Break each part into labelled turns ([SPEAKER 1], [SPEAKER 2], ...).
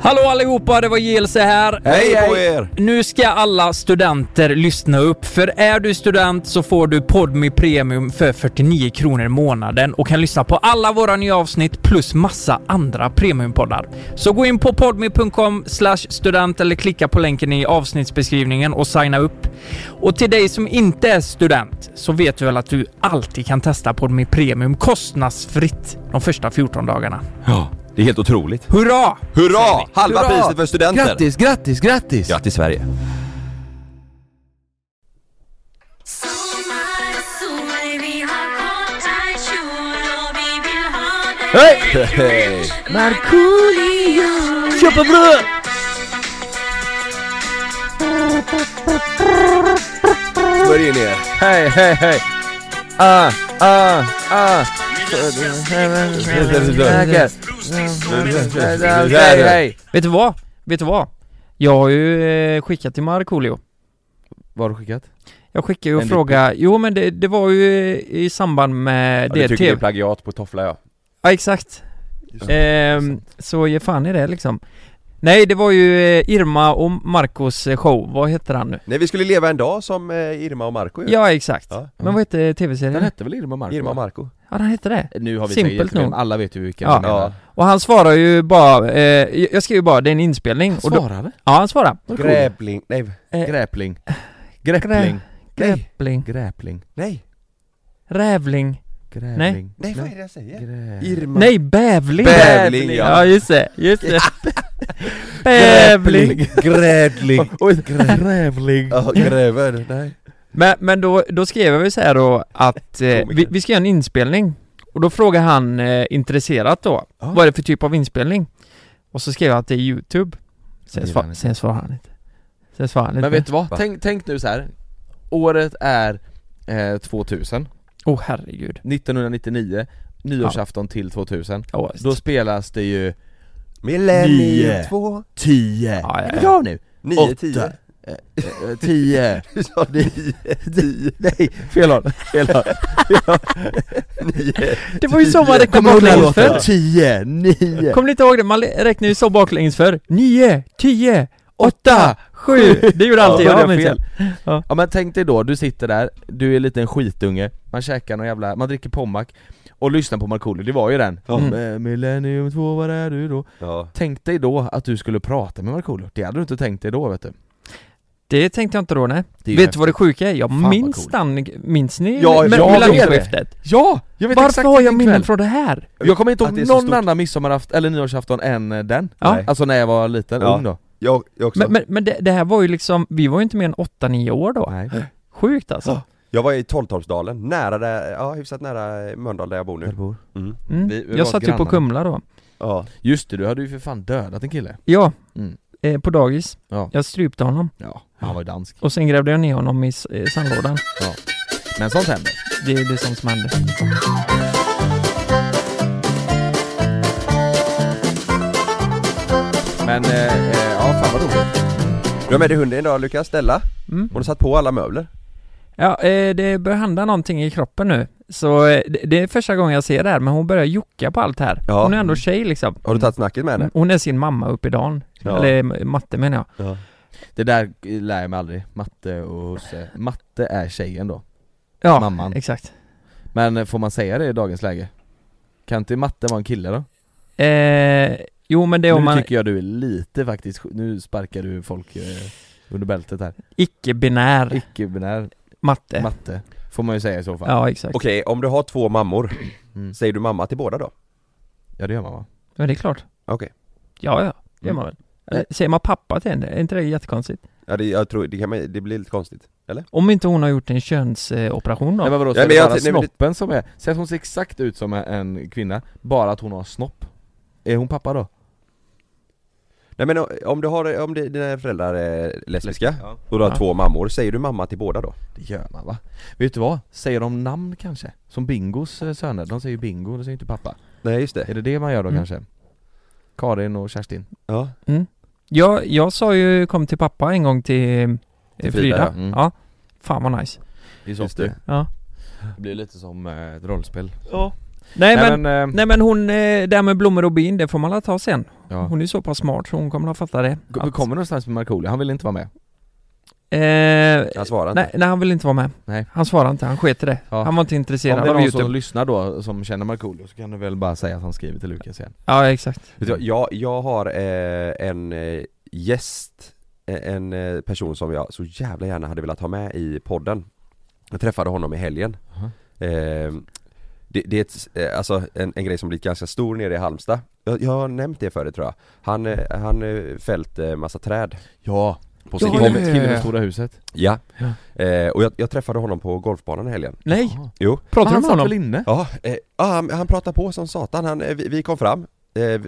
[SPEAKER 1] Hallå allihopa, det var JLC här.
[SPEAKER 2] Hej på er!
[SPEAKER 1] Nu ska alla studenter lyssna upp, för är du student så får du Podmi Premium för 49 kronor i månaden och kan lyssna på alla våra nya avsnitt plus massa andra premiumpoddar. Så gå in på podmi.com student eller klicka på länken i avsnittsbeskrivningen och signa upp. Och till dig som inte är student så vet du väl att du alltid kan testa Podmi Premium kostnadsfritt de första 14 dagarna.
[SPEAKER 2] Ja, det är helt otroligt.
[SPEAKER 1] Hurra!
[SPEAKER 2] Hurra! Halva
[SPEAKER 3] Hurra!
[SPEAKER 2] priset för studenter!
[SPEAKER 3] Grattis, grattis, grattis!
[SPEAKER 2] Grattis Sverige!
[SPEAKER 3] Hej!
[SPEAKER 2] Hej!
[SPEAKER 4] Markoolio
[SPEAKER 3] Köpa bröd!
[SPEAKER 2] Smörj in er!
[SPEAKER 3] Hej, hej, hej! Ah, ah, ah! Hej, hej!
[SPEAKER 1] Vet du vad? Vet du vad? Jag har ju eh, skickat till Markoolio
[SPEAKER 3] Vad har du skickat?
[SPEAKER 1] Jag skickade ju och
[SPEAKER 3] En
[SPEAKER 1] frågade, jo men det, det var ju eh, i samband med
[SPEAKER 2] Ja,
[SPEAKER 1] det
[SPEAKER 2] du tycker det är
[SPEAKER 1] tv
[SPEAKER 2] plagiat på toffla ja.
[SPEAKER 1] Ja exakt
[SPEAKER 2] Just
[SPEAKER 1] ehm, Så ge fan i det liksom Nej det var ju eh, Irma och Marcos eh, show, vad heter han nu?
[SPEAKER 2] Nej vi skulle leva en dag som eh, Irma och Marco ju.
[SPEAKER 1] Ja exakt,
[SPEAKER 2] Ja.
[SPEAKER 1] men vad hette tv-serien?
[SPEAKER 3] Den hette väl Irma Marko?
[SPEAKER 2] Irma och Marco.
[SPEAKER 1] Ja den hette det
[SPEAKER 3] Nu har vi
[SPEAKER 1] Simpelt
[SPEAKER 3] säkert jätteproblem,
[SPEAKER 1] nog.
[SPEAKER 3] alla vet ju vilka
[SPEAKER 1] Ja.
[SPEAKER 3] vi menar.
[SPEAKER 2] Ja.
[SPEAKER 1] Och han svarar ju bara, eh, jag jag skrev ju bara det är en inspelning och då,
[SPEAKER 3] Svarade?
[SPEAKER 1] Ja han svarar
[SPEAKER 2] Grävling, nej,
[SPEAKER 1] Eh,
[SPEAKER 3] Gräpling Gräpling Nej.
[SPEAKER 1] Gräpling,
[SPEAKER 3] Gräpling
[SPEAKER 2] nej,
[SPEAKER 1] rävling,
[SPEAKER 3] Gräpling
[SPEAKER 2] nej vad är det jag säger?
[SPEAKER 3] Grä...
[SPEAKER 2] Irma.
[SPEAKER 1] nej bävling
[SPEAKER 2] Bävling,
[SPEAKER 1] ja.
[SPEAKER 2] ja.
[SPEAKER 1] just det, just det Bävling
[SPEAKER 2] Grävling.
[SPEAKER 3] Grävling
[SPEAKER 2] Ja, gräver, nej.
[SPEAKER 1] Men, men då, då skrev jag ju så här då att eh, vi, vi ska göra en inspelning Och då frågar han eh, intresserat då
[SPEAKER 2] Ja.
[SPEAKER 1] Vad är det för typ av inspelning? Och så skrev jag att det är youtube Sen,
[SPEAKER 3] Det
[SPEAKER 1] svar,
[SPEAKER 3] gillar han inte.
[SPEAKER 1] sen svarar han inte Sen svarar han inte
[SPEAKER 3] Men vet du vad?
[SPEAKER 2] Va?
[SPEAKER 3] Tänk, tänk nu så här. Året är eh, 2000
[SPEAKER 1] Åh herregud
[SPEAKER 3] 1999 Nyårsafton till 2000
[SPEAKER 1] Ja,
[SPEAKER 3] Då spelas det ju
[SPEAKER 2] Millennium
[SPEAKER 3] Nio.
[SPEAKER 2] 2.
[SPEAKER 3] 10
[SPEAKER 1] Ja, ja, ja.
[SPEAKER 3] Är det bra nu?
[SPEAKER 2] 9, 10.
[SPEAKER 3] Åtta. Eh, eh, 10
[SPEAKER 2] Du sa 9, 10,
[SPEAKER 3] Nej, fel håll, fel håll
[SPEAKER 2] 9.
[SPEAKER 1] Det var ju så man räknade
[SPEAKER 3] Kommer du ihåg den
[SPEAKER 1] baklänges
[SPEAKER 3] låten?
[SPEAKER 1] för
[SPEAKER 3] 10, 9
[SPEAKER 1] Kommer ni inte ihåg det? Man räknade ju så baklänges för 9, 10, 8, 7 Det gjorde alltid
[SPEAKER 3] Ja,
[SPEAKER 1] jag
[SPEAKER 3] men
[SPEAKER 1] minns jag
[SPEAKER 3] fel.
[SPEAKER 1] Ja.
[SPEAKER 3] Ja. men tänk dig då, du sitter där, du är en liten skitunge, man käkar någon jävla, man dricker pommack och lyssnar på Markoolio, det var ju den
[SPEAKER 2] Ja.
[SPEAKER 3] mm. Millennium 2, var är du då?
[SPEAKER 2] Ja.
[SPEAKER 3] Tänk dig då att du skulle prata med Markoolio, det hade du inte tänkt dig då vet du
[SPEAKER 1] Det tänkte jag inte då nej
[SPEAKER 3] Det är ju
[SPEAKER 1] Vet du vad det sjuka är? Jag
[SPEAKER 3] Fan, vad
[SPEAKER 1] minns
[SPEAKER 3] coolt.
[SPEAKER 1] den, minns ni?
[SPEAKER 3] Ja,
[SPEAKER 1] med-
[SPEAKER 3] jag vet det.
[SPEAKER 1] Mellanskiftet?
[SPEAKER 3] Ja! Jag vet
[SPEAKER 1] Varför
[SPEAKER 3] exakt
[SPEAKER 1] har jag
[SPEAKER 3] vilken
[SPEAKER 1] minnen
[SPEAKER 3] kväll.
[SPEAKER 1] från det här?
[SPEAKER 3] Jag kommer inte
[SPEAKER 2] Att det är
[SPEAKER 3] ihåg
[SPEAKER 2] så
[SPEAKER 3] någon
[SPEAKER 2] stort.
[SPEAKER 3] annan midsommarafton, eller nyårsafton än eh, den
[SPEAKER 1] Ja.
[SPEAKER 2] Nej.
[SPEAKER 3] Alltså när jag var liten,
[SPEAKER 2] Ja.
[SPEAKER 3] ung då
[SPEAKER 2] Jag, jag också.
[SPEAKER 1] Men, men, men det, det här var ju liksom, vi var ju inte mer än 8-9 år då.
[SPEAKER 3] Nej.
[SPEAKER 1] Sjukt alltså.
[SPEAKER 2] Ja. Jag var i Tolltorpsdalen, nära där, ja hyfsat nära Mölndal där jag bor nu. Mm.
[SPEAKER 1] Mm.
[SPEAKER 3] Vi- vi var
[SPEAKER 1] jag satt ju på
[SPEAKER 3] grannar.
[SPEAKER 1] Kumla då.
[SPEAKER 2] Ja.
[SPEAKER 3] Just det, du hade ju för fan dödat en kille
[SPEAKER 1] Ja,
[SPEAKER 3] Mm.
[SPEAKER 1] eh, på dagis.
[SPEAKER 3] Ja.
[SPEAKER 1] Jag strypte honom
[SPEAKER 3] Ja, han var ju dansk
[SPEAKER 1] och sen grävde jag ner honom i s- eh, sandlådan.
[SPEAKER 3] Men sånt händer
[SPEAKER 1] Det, det är sånt som händer.
[SPEAKER 3] Men, eh, eh, ja fan vad roligt
[SPEAKER 2] Du har med dig hunden idag Lukas, Stella.
[SPEAKER 1] Mm.
[SPEAKER 2] Hon har satt på alla möbler.
[SPEAKER 1] Ja, eh, det börjar hända någonting i kroppen nu. Så eh, det, det är första gången jag ser det här, men hon börjar jucka på allt här.
[SPEAKER 2] Ja.
[SPEAKER 1] Hon är ändå tjej liksom.
[SPEAKER 2] Har du tagit snacket med henne?
[SPEAKER 1] Hon är sin mamma upp i dagen.
[SPEAKER 2] Ja.
[SPEAKER 1] Eller eh, matte menar jag.
[SPEAKER 2] Ja.
[SPEAKER 3] Det där lär jag mig aldrig, matte och husse Matte är tjejen då,
[SPEAKER 1] Ja,
[SPEAKER 3] mamman
[SPEAKER 1] exakt.
[SPEAKER 3] Men eh, får man säga det i dagens läge? Kan inte matte vara en kille då?
[SPEAKER 1] Eh, jo men det är
[SPEAKER 3] nu
[SPEAKER 1] om man,
[SPEAKER 3] tycker jag du är lite faktiskt, nu sparkar du folk eh, under bältet här
[SPEAKER 1] icke-binär
[SPEAKER 3] Icke-binär
[SPEAKER 1] matte.
[SPEAKER 3] matte, får man ju säga i så fall
[SPEAKER 1] Ja, exakt.
[SPEAKER 2] Okej, om du har två mammor,
[SPEAKER 3] Mm.
[SPEAKER 2] säger du mamma till båda då?
[SPEAKER 3] Ja det gör man va?
[SPEAKER 1] Men det är klart.
[SPEAKER 2] Okej.
[SPEAKER 1] Ja, ja. Det gör
[SPEAKER 3] Mm.
[SPEAKER 1] man väl. Eller, säger man pappa till henne? Är inte det jättekonstigt?
[SPEAKER 2] Ja, det, jag tror, det, kan, man- det blir lite konstigt. Eller?
[SPEAKER 1] Om inte hon har gjort en könsoperation då?
[SPEAKER 3] Nej men vadå, så
[SPEAKER 2] Ja,
[SPEAKER 3] är
[SPEAKER 2] men
[SPEAKER 3] det
[SPEAKER 2] jag
[SPEAKER 3] bara
[SPEAKER 2] tänkte- nej, men det-
[SPEAKER 3] snoppen som är, säg att hon ser exakt ut som en kvinna, bara att hon har snopp Är hon pappa då?
[SPEAKER 2] Nej men om du har, om det, dina föräldrar är lesbiska
[SPEAKER 3] Ja.
[SPEAKER 2] och du har
[SPEAKER 1] Ja.
[SPEAKER 2] två mammor, säger du mamma till båda då?
[SPEAKER 3] Det gör man va? Vet du vad? Säger de namn kanske? Som Bingos eh, söner, de säger ju Bingo, de säger inte pappa
[SPEAKER 2] Nej just det.
[SPEAKER 3] Är det det man gör då
[SPEAKER 1] Mm.
[SPEAKER 3] kanske? Karin och Kerstin?
[SPEAKER 2] Ja.
[SPEAKER 1] jag, jag sa ju kom till pappa en gång till, till
[SPEAKER 2] Till
[SPEAKER 1] Frida.
[SPEAKER 2] Frida,
[SPEAKER 1] Ja.
[SPEAKER 2] ja.
[SPEAKER 3] Mm.
[SPEAKER 1] Fan vad nice.
[SPEAKER 3] Det är
[SPEAKER 2] soft ju.
[SPEAKER 1] Ja.
[SPEAKER 3] Det blir lite som eh, ett rollspel
[SPEAKER 1] Nej
[SPEAKER 3] Nej
[SPEAKER 1] men,
[SPEAKER 3] men, eh,
[SPEAKER 1] nej men hon, eh, det här med blommor och bin, det får man alla ta sen.
[SPEAKER 3] Ja.
[SPEAKER 5] Hon är så pass smart så hon kommer att fatta det.
[SPEAKER 3] Kom- Vi kommer någonstans med Markoolio, han vill inte vara med.
[SPEAKER 5] Eh,
[SPEAKER 2] Jag svarar inte.
[SPEAKER 5] nej, nej, han vill inte vara med.
[SPEAKER 3] Nej.
[SPEAKER 5] Han svarade inte, han sket i det.
[SPEAKER 3] Ja.
[SPEAKER 5] Han var typ- inte
[SPEAKER 3] Om
[SPEAKER 5] intresserad
[SPEAKER 3] det är
[SPEAKER 5] av
[SPEAKER 3] någon
[SPEAKER 5] Youtube.
[SPEAKER 3] som lyssnar då, som känner Markoolio, så kan du väl bara säga att han skriver till Lukas igen.
[SPEAKER 5] Ja, exakt.
[SPEAKER 2] Vet du vad, Jag, jag har eh, en eh, gäst, eh, en eh, person som jag så jävla gärna hade velat ha med i podden Jag träffade honom i helgen
[SPEAKER 3] Aha.
[SPEAKER 2] eh, det, det är ett, eh, alltså en, en grej som blivit ganska stor nere i Halmstad Jag, jag har nämnt det förut tror jag Han, eh, han eh, fält eh, massa träd
[SPEAKER 3] Ja,
[SPEAKER 2] på
[SPEAKER 5] Ja,
[SPEAKER 2] sin
[SPEAKER 5] ja,
[SPEAKER 2] tomt
[SPEAKER 5] ja.
[SPEAKER 3] killen med stora huset.
[SPEAKER 2] Ja,
[SPEAKER 3] Ja.
[SPEAKER 2] Eh, och jag, jag träffade honom på golfbanan i helgen
[SPEAKER 5] Nej!
[SPEAKER 3] Jaha.
[SPEAKER 2] Jo
[SPEAKER 5] Pratar du med
[SPEAKER 3] han satt
[SPEAKER 5] honom?
[SPEAKER 3] väl inne?
[SPEAKER 2] Ja, eh, ja, han, han pratade på som satan. Han, eh, vi, vi kom fram. Eh,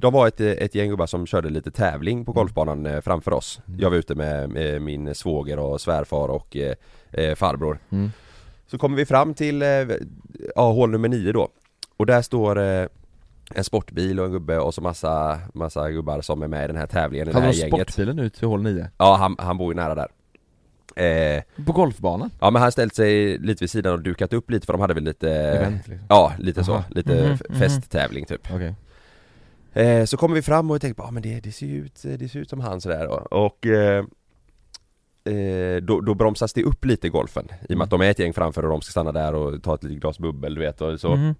[SPEAKER 2] de var ett, eh, ett gäng gubbar som körde lite tävling på golfbanan eh, framför oss.
[SPEAKER 3] Mm.
[SPEAKER 2] Jag var ute med, med min svåger och svärfar och eh, eh, farbror.
[SPEAKER 3] Mm.
[SPEAKER 2] Så kommer vi fram till eh, ja, hål nummer nio då. Och där står eh, en sportbil och en gubbe och så massa, massa gubbar som är med i den här tävlingen, i det
[SPEAKER 3] Hade
[SPEAKER 2] här
[SPEAKER 3] de
[SPEAKER 2] gänget.
[SPEAKER 3] sportbilen ut till hål 9?
[SPEAKER 2] Ja, han, han bor ju nära där. Eh,
[SPEAKER 3] På golfbanan?
[SPEAKER 2] ja men han ställt sig lite vid sidan och dukat upp lite för de hade väl lite
[SPEAKER 3] Event liksom.
[SPEAKER 2] Ja, lite så.
[SPEAKER 3] Aha.
[SPEAKER 2] Lite
[SPEAKER 5] Mhm,
[SPEAKER 2] f-
[SPEAKER 5] mhm.
[SPEAKER 2] festtävling typ.
[SPEAKER 3] Okej.
[SPEAKER 2] Eh, så kommer vi fram och tänker bara, ah, men det, det, ser ju ut, det ser ut som han sådär och, och eh, eh, då, då bromsas det upp lite i golfen i och med att
[SPEAKER 5] Mm.
[SPEAKER 2] de är ett gäng framför och de ska stanna där och ta ett litet glas bubbel du vet och så.
[SPEAKER 5] Mhm.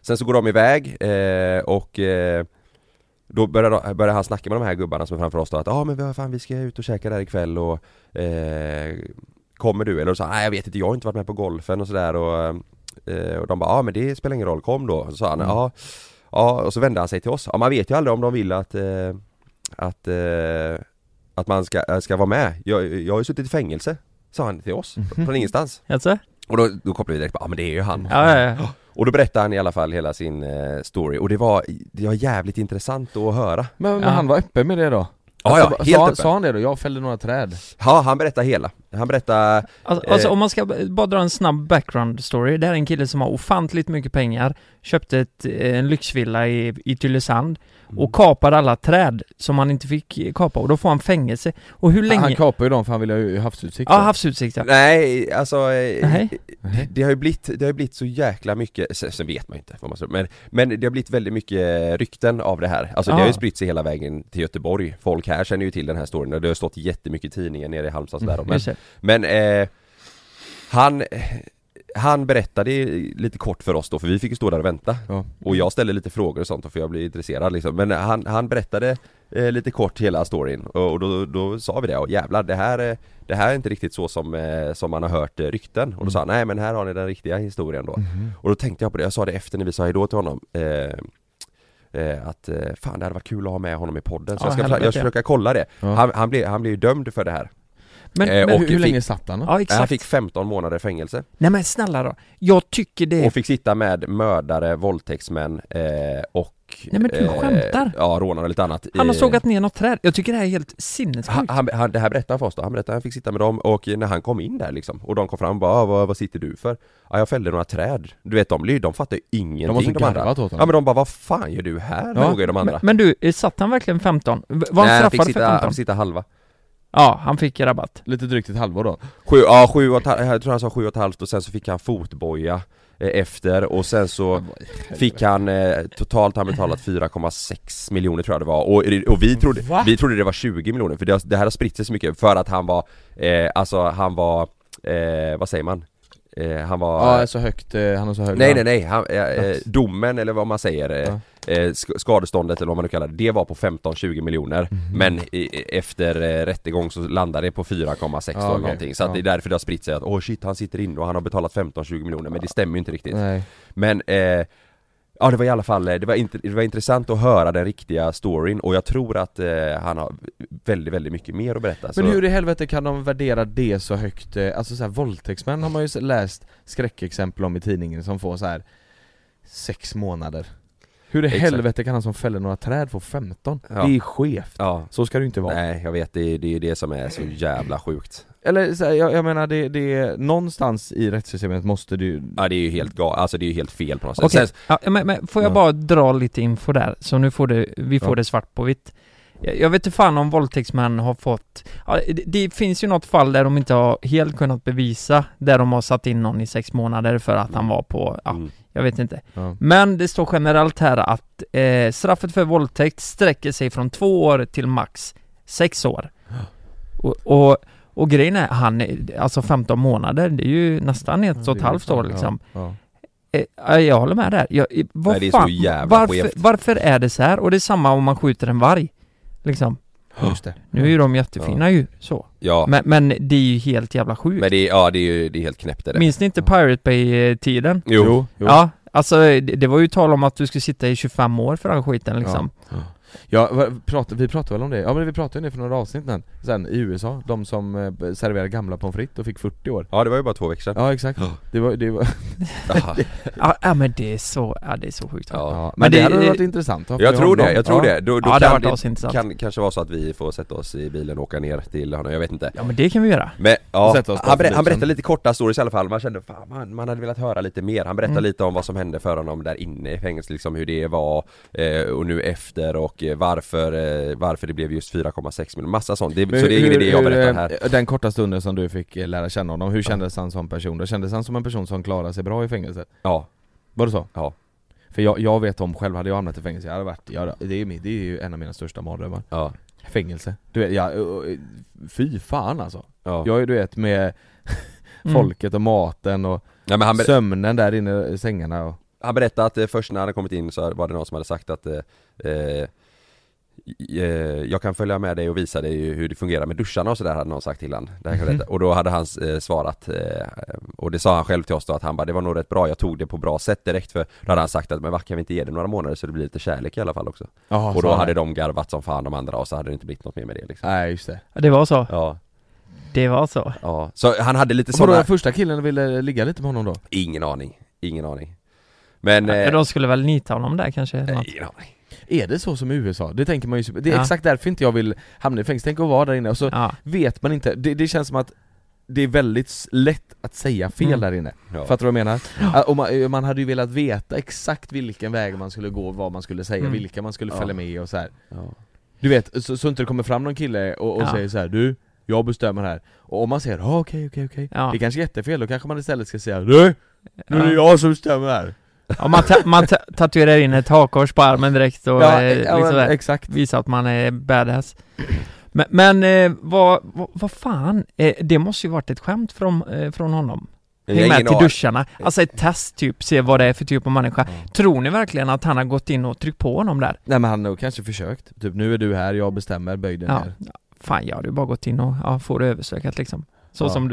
[SPEAKER 2] Sen så går de iväg eh, och eh, då börjar, de- börjar han snacka med de här gubbarna som är framför oss då att ja ah, men vi, har- fan, vi ska ut och käka där ikväll och eh, Kommer du? Eller så sa han, nej jag vet inte, jag har inte varit med på golfen och sådär och, eh, och de bara ja ah, men det spelar ingen roll, kom då. Och så sa han ja,
[SPEAKER 3] Mm.
[SPEAKER 2] ja och så vände han sig till oss. Ja man vet ju aldrig om de vill att eh, att, eh, att man ska, äh, ska vara med. Jag, jag har ju suttit i fängelse, sa han till oss, från ingenstans.
[SPEAKER 5] Jaså?
[SPEAKER 2] Och då, då kopplade vi direkt, ja ah, men det är ju han.
[SPEAKER 5] Ja, ja, ja.
[SPEAKER 2] Och då berättade han i alla fall hela sin eh, story och det var, det var jävligt intressant att höra
[SPEAKER 3] Men, men
[SPEAKER 5] Ja.
[SPEAKER 3] han var öppen med det då?
[SPEAKER 2] Ja,
[SPEAKER 3] Alltså,
[SPEAKER 2] ja,
[SPEAKER 3] va-
[SPEAKER 2] helt
[SPEAKER 3] sa,
[SPEAKER 2] öppen.
[SPEAKER 3] sa han det då? Jag fällde några träd.
[SPEAKER 2] Ja, han berättade hela. Han berättade,
[SPEAKER 5] Alltså, alltså
[SPEAKER 2] Eh.
[SPEAKER 5] om man ska b- bara dra en snabb background story. Det här är en kille som har ofantligt mycket pengar, köpte ett, eh, en lyxvilla i, i Tylösand
[SPEAKER 2] Mm.
[SPEAKER 5] och kapade alla träd som han inte fick eh, kapa och då får han fängelse. Och hur länge...
[SPEAKER 3] Han kapade ju dem för han ville ha ju havsutsikt.
[SPEAKER 5] ja,
[SPEAKER 3] då.
[SPEAKER 5] havsutsikt ja.
[SPEAKER 2] nej alltså, eh,
[SPEAKER 5] Nej.
[SPEAKER 3] Nej.
[SPEAKER 2] Det, har ju blivit, det har ju blivit så jäkla mycket, sen, sen vet man ju inte vad man ska, men, men det har blivit väldigt mycket rykten av det här. Alltså det har
[SPEAKER 5] Ja.
[SPEAKER 2] ju spritt sig hela vägen till Göteborg. Folk här känner ju till den här storyn och det har stått jättemycket i tidningen nere i Halmstad och sådär.
[SPEAKER 1] Mm,
[SPEAKER 2] Men,
[SPEAKER 5] Just det.
[SPEAKER 2] Men eh, han, han berättade lite kort för oss då, för vi fick ju stå där och vänta
[SPEAKER 3] Ja.
[SPEAKER 2] Och jag ställde lite frågor och sånt då, för jag blev intresserad liksom. Men han, han berättade eh, lite kort hela storyn och, och då, då sa vi det, och jävlar det här, eh, det här är inte riktigt så som, eh, som man har hört eh, rykten Och då sa han, nej men här har ni den riktiga historien då
[SPEAKER 5] Mhm.
[SPEAKER 2] Och då tänkte jag på det, jag sa det efter när vi sa hejdå till honom eh, eh, Att eh, fan det hade varit kul att ha med honom i podden, så
[SPEAKER 5] Ja,
[SPEAKER 2] jag ska
[SPEAKER 5] helvete,
[SPEAKER 2] försöka- jag
[SPEAKER 5] ja.
[SPEAKER 2] ska försöka kolla det
[SPEAKER 3] Ja.
[SPEAKER 2] han, han, blev, han blev ju dömd för det här
[SPEAKER 5] Men,
[SPEAKER 2] Eh,
[SPEAKER 5] men
[SPEAKER 2] och
[SPEAKER 3] hur, hur
[SPEAKER 2] fick-
[SPEAKER 3] länge satt han då?
[SPEAKER 5] ja, exakt.
[SPEAKER 2] Han fick 15 månader fängelse
[SPEAKER 5] Nej men snälla då. Jag tycker det är
[SPEAKER 2] Och fick sitta med mördare, våldtäktsmän eh, och eh,
[SPEAKER 5] Nej, men du skämtar.
[SPEAKER 2] Ja, rånare och lite annat
[SPEAKER 5] Han har
[SPEAKER 2] Eh,
[SPEAKER 5] sågat ner något träd. Jag tycker det här är helt
[SPEAKER 2] han,
[SPEAKER 5] sinnessjukt.
[SPEAKER 2] han, han, det här berättade han för oss då, han berättade att han fick sitta med dem och när han kom in där liksom Och de kom fram och bara "Ah, vad, vad sitter du för? Ja, jag fällde några träd Du vet de, blir- de fattar ju
[SPEAKER 3] De måste
[SPEAKER 2] ingenting
[SPEAKER 3] ju
[SPEAKER 2] de andra
[SPEAKER 3] garvat åt
[SPEAKER 2] Ja
[SPEAKER 3] honom.
[SPEAKER 2] men de bara vad fan gör du här?
[SPEAKER 3] Ja,
[SPEAKER 2] Frågar ju de andra
[SPEAKER 5] Men, men du, eh, satt han verkligen 15? V- Var han
[SPEAKER 2] Nej, han fick
[SPEAKER 5] straffad för
[SPEAKER 2] sitta, han fick
[SPEAKER 5] 15?
[SPEAKER 2] sitta halva
[SPEAKER 5] Ja, han fick rabatt.
[SPEAKER 3] Lite drygt ett halvår då.
[SPEAKER 2] Sju, ja sju och ett halvt, jag tror han sa sju och ett halvt och sen så fick han fotboja eh, efter och sen så Fick han, eh, totalt har han betalat 4,6 miljoner tror jag det var och, och vi, trodde,
[SPEAKER 3] Va?
[SPEAKER 2] vi trodde det var 20 miljoner för det, har- det här har spritt sig så mycket för att han var, eh, alltså han var, eh, vad säger man? Eh, han var...
[SPEAKER 3] Ja, så högt, eh, han har så hög
[SPEAKER 2] nej
[SPEAKER 3] lön.
[SPEAKER 2] nej nej, han, eh, eh,
[SPEAKER 3] Yes.
[SPEAKER 2] domen eller vad man säger, eh, eh, sk- skadeståndet eller vad man nu kallar det, det var på 15-20 miljoner
[SPEAKER 3] Mhm.
[SPEAKER 2] men i, efter eh, rättegång så landade det på 4,6
[SPEAKER 3] Ja,
[SPEAKER 2] eller
[SPEAKER 3] okej.
[SPEAKER 2] någonting så att
[SPEAKER 3] Ja.
[SPEAKER 2] det är därför det har spritt sig att åh shit han sitter inne och han har betalat 15-20 miljoner men det stämmer ju inte riktigt
[SPEAKER 3] Nej.
[SPEAKER 2] men eh, Ja det var i alla fall, eh, det var, inte, det var intressant att höra den riktiga storyn och jag tror att eh, han har väldigt, väldigt mycket mer att berätta
[SPEAKER 3] Men
[SPEAKER 2] så,
[SPEAKER 3] hur i helvete kan de värdera det så högt? eh, Alltså så här, våldtäktsmän har man ju läst skräckexempel om i tidningen som får så här sex månader Hur i
[SPEAKER 2] Exakt.
[SPEAKER 3] helvete kan han som fäller några träd få 15?
[SPEAKER 2] Ja.
[SPEAKER 3] Det är skevt,
[SPEAKER 2] Ja,
[SPEAKER 3] så ska det ju inte vara
[SPEAKER 2] nej jag vet, det, det är det som är så jävla sjukt
[SPEAKER 3] Eller så här, jag, jag menar det, det är någonstans i rättssystemet måste du
[SPEAKER 2] Ja det är ju helt ga- alltså det är ju helt fel på något sätt
[SPEAKER 5] Okej,
[SPEAKER 2] Sen-
[SPEAKER 5] ja, men, men får jag
[SPEAKER 3] Ja.
[SPEAKER 5] bara dra lite info där? Så nu får du, vi får
[SPEAKER 3] Ja.
[SPEAKER 5] det svart på vitt.
[SPEAKER 1] Jag jag vet inte fan om våldtäktsmän har fått ja, det, det finns ju något fall där de inte har helt kunnat bevisa Där de har satt in någon i sex månader för att han var på, ja,
[SPEAKER 2] Mm.
[SPEAKER 1] jag vet inte
[SPEAKER 3] Ja.
[SPEAKER 1] Men det står generellt här att eh, straffet för våldtäkt sträcker sig från två år till max sex år Och, och, och grejen är, han, är- alltså 15 månader, det är ju nästan ett och ett halvt år liksom
[SPEAKER 3] Ja.
[SPEAKER 1] Eh, ja, jag håller med där. Jag, eh, vad
[SPEAKER 2] Nej, det är så
[SPEAKER 1] fan,
[SPEAKER 2] jävla
[SPEAKER 1] varför,
[SPEAKER 2] skevt.
[SPEAKER 1] varför är det så här? Och det är samma om man skjuter en varg. Liksom.
[SPEAKER 3] ja. Just det.
[SPEAKER 1] Nu är ju de jättefina ju, så.
[SPEAKER 2] Ja, men,
[SPEAKER 1] Men, men det är ju helt jävla sjukt.
[SPEAKER 2] det, är- ja, det är ju det är helt knäppt är det
[SPEAKER 1] Minns ni inte Pirate Bay-tiden?
[SPEAKER 2] Jo,
[SPEAKER 1] Ja, alltså eh, det, det var ju tal om att du skulle sitta i 25 år för den skiten liksom.
[SPEAKER 3] Ja, vad- prat, vi pratade väl om det? Ja men vi pratade ju nu för några avsnitt sedan, sen i USA, de som eh, serverade gamla pommes frites och fick 40 år
[SPEAKER 2] ja det var ju bara två veckor sedan
[SPEAKER 3] Ja exakt,
[SPEAKER 2] Ja.
[SPEAKER 3] det var, det var
[SPEAKER 2] Aha.
[SPEAKER 1] Ja, ja men det är så, ja det är så sjukt.
[SPEAKER 2] Ja.
[SPEAKER 3] ja. Men,
[SPEAKER 1] Men
[SPEAKER 3] det,
[SPEAKER 1] det-
[SPEAKER 3] hade
[SPEAKER 1] det-
[SPEAKER 3] varit intressant att ha
[SPEAKER 2] Jag
[SPEAKER 3] med
[SPEAKER 2] tror
[SPEAKER 3] honom.
[SPEAKER 2] det, jag tror
[SPEAKER 3] ja.
[SPEAKER 2] det. Då, då
[SPEAKER 1] Ja, det har
[SPEAKER 2] kan,
[SPEAKER 1] varit asintressant.
[SPEAKER 2] kan kanske vara så att vi får sätta oss i bilen och åka ner till honom, jag vet inte
[SPEAKER 1] Ja men det kan vi göra.
[SPEAKER 2] Men ja,
[SPEAKER 3] Sätta oss på
[SPEAKER 2] han, ber-
[SPEAKER 3] flygplan.
[SPEAKER 2] han berättade lite korta stories i alla fall, man kände fan man, man hade velat höra lite mer Han berättade
[SPEAKER 1] Mm.
[SPEAKER 2] lite om vad som hände för honom där inne i fängelset liksom hur det var eh, och nu efter och eh, varför, eh, varför det blev just 4,6 miljoner, massa sånt, det,
[SPEAKER 3] Men
[SPEAKER 2] så det är ingen
[SPEAKER 3] hur-
[SPEAKER 2] idé jag
[SPEAKER 3] hur,
[SPEAKER 2] berättar här
[SPEAKER 3] eh, Den korta stunden som du fick eh, lära känna honom, hur kändes han som person? Då kändes han som en person som klarade sig bra i fängelset?
[SPEAKER 2] Ja,
[SPEAKER 3] Var det så?
[SPEAKER 2] Ja.
[SPEAKER 3] För jag, jag vet om själv, hade jag hamnat i fängelse, jag hade varit, jag, hade- det, är, min- det är ju en av mina största mardrömmar
[SPEAKER 2] ja,
[SPEAKER 3] Fängelse, du vet, jag, eh, fy fan alltså
[SPEAKER 2] ja,
[SPEAKER 3] Jag är du vet med
[SPEAKER 1] Mm.
[SPEAKER 3] folket och maten och
[SPEAKER 2] ja men han, ber-
[SPEAKER 3] sömnen där inne i sängarna och...
[SPEAKER 2] Han berättade att eh, först när han hade kommit in så var det någon som hade sagt att eh, eh, eh, Jag kan följa med dig och visa dig ju hur det fungerar med duscharna och sådär hade någon sagt till han det här kan jag
[SPEAKER 1] Mm-hmm.
[SPEAKER 2] berätta. Och då hade han eh, svarat eh, Och det sa han själv till oss då att han bara det var nog rätt bra, jag tog det på bra sätt direkt för Då hade han sagt att men vad kan vi inte ge det några månader så det blir lite kärlek i alla fall också Och då hade de garvat som fan de andra och så hade det inte blivit något mer med det liksom
[SPEAKER 3] Nej just det.
[SPEAKER 1] Ja, Det var så.
[SPEAKER 2] Ja,
[SPEAKER 1] Det var så.
[SPEAKER 2] ja Så han hade lite
[SPEAKER 3] Och vadå,
[SPEAKER 2] sådana,
[SPEAKER 3] den första killen ville ligga lite med honom då?
[SPEAKER 2] ingen aning, ingen aning Men, eh,
[SPEAKER 1] Ja, de skulle väl nita honom där kanske? eller något.
[SPEAKER 2] ingen aning
[SPEAKER 3] Är det så som i USA? Det tänker man ju, det är
[SPEAKER 1] Ja.
[SPEAKER 3] exakt därför inte jag vill hamna i fängelse, tänk att vara där inne och så
[SPEAKER 1] Ja.
[SPEAKER 3] vet man inte, det, det känns som att det är väldigt s- lätt att säga fel
[SPEAKER 1] Mm.
[SPEAKER 3] där inne,
[SPEAKER 2] ja.
[SPEAKER 3] fattar du vad jag menar? Ah, Och man, eh, man hade ju velat veta exakt vilken väg man skulle gå, vad man skulle säga,
[SPEAKER 1] Mm.
[SPEAKER 3] vilka man skulle
[SPEAKER 2] Ja.
[SPEAKER 3] följa med och så här.
[SPEAKER 2] Ja.
[SPEAKER 3] Du vet, så, så inte det kommer fram någon kille och, och
[SPEAKER 1] Ja.
[SPEAKER 3] säger så här: du, jag bestämmer här Och om man säger ah, okej okej okej,
[SPEAKER 1] Ja.
[SPEAKER 3] det kanske är jättefel, då kanske man istället ska säga du, nu är det
[SPEAKER 1] Ja.
[SPEAKER 3] jag som bestämmer här!
[SPEAKER 1] Ja, man, ta- man ta- tatuerar in ett hakkors på armen direkt och
[SPEAKER 3] ja,
[SPEAKER 1] eh,
[SPEAKER 3] eh, ja,
[SPEAKER 1] liksom
[SPEAKER 3] men
[SPEAKER 1] där.
[SPEAKER 3] exakt
[SPEAKER 1] visar att man är badass. Men, men eh, vad, vad, vad fan, eh, det måste ju varit ett skämt från, eh, från honom.
[SPEAKER 2] Jag har
[SPEAKER 1] Häng med
[SPEAKER 2] ingen
[SPEAKER 1] till
[SPEAKER 2] aning.
[SPEAKER 1] duscharna, alltså ett test typ, se vad det är för typ av människa.
[SPEAKER 3] Ja.
[SPEAKER 1] Tror ni verkligen att han har gått in och tryckt på honom där?
[SPEAKER 3] Nej men han har nog kanske försökt, typ nu är du här, jag bestämmer, böj dig
[SPEAKER 1] Ja.
[SPEAKER 3] ner
[SPEAKER 1] Fan, jag hade ju bara gått in och ja, får det översökat liksom. Så
[SPEAKER 3] Ja.
[SPEAKER 1] som du.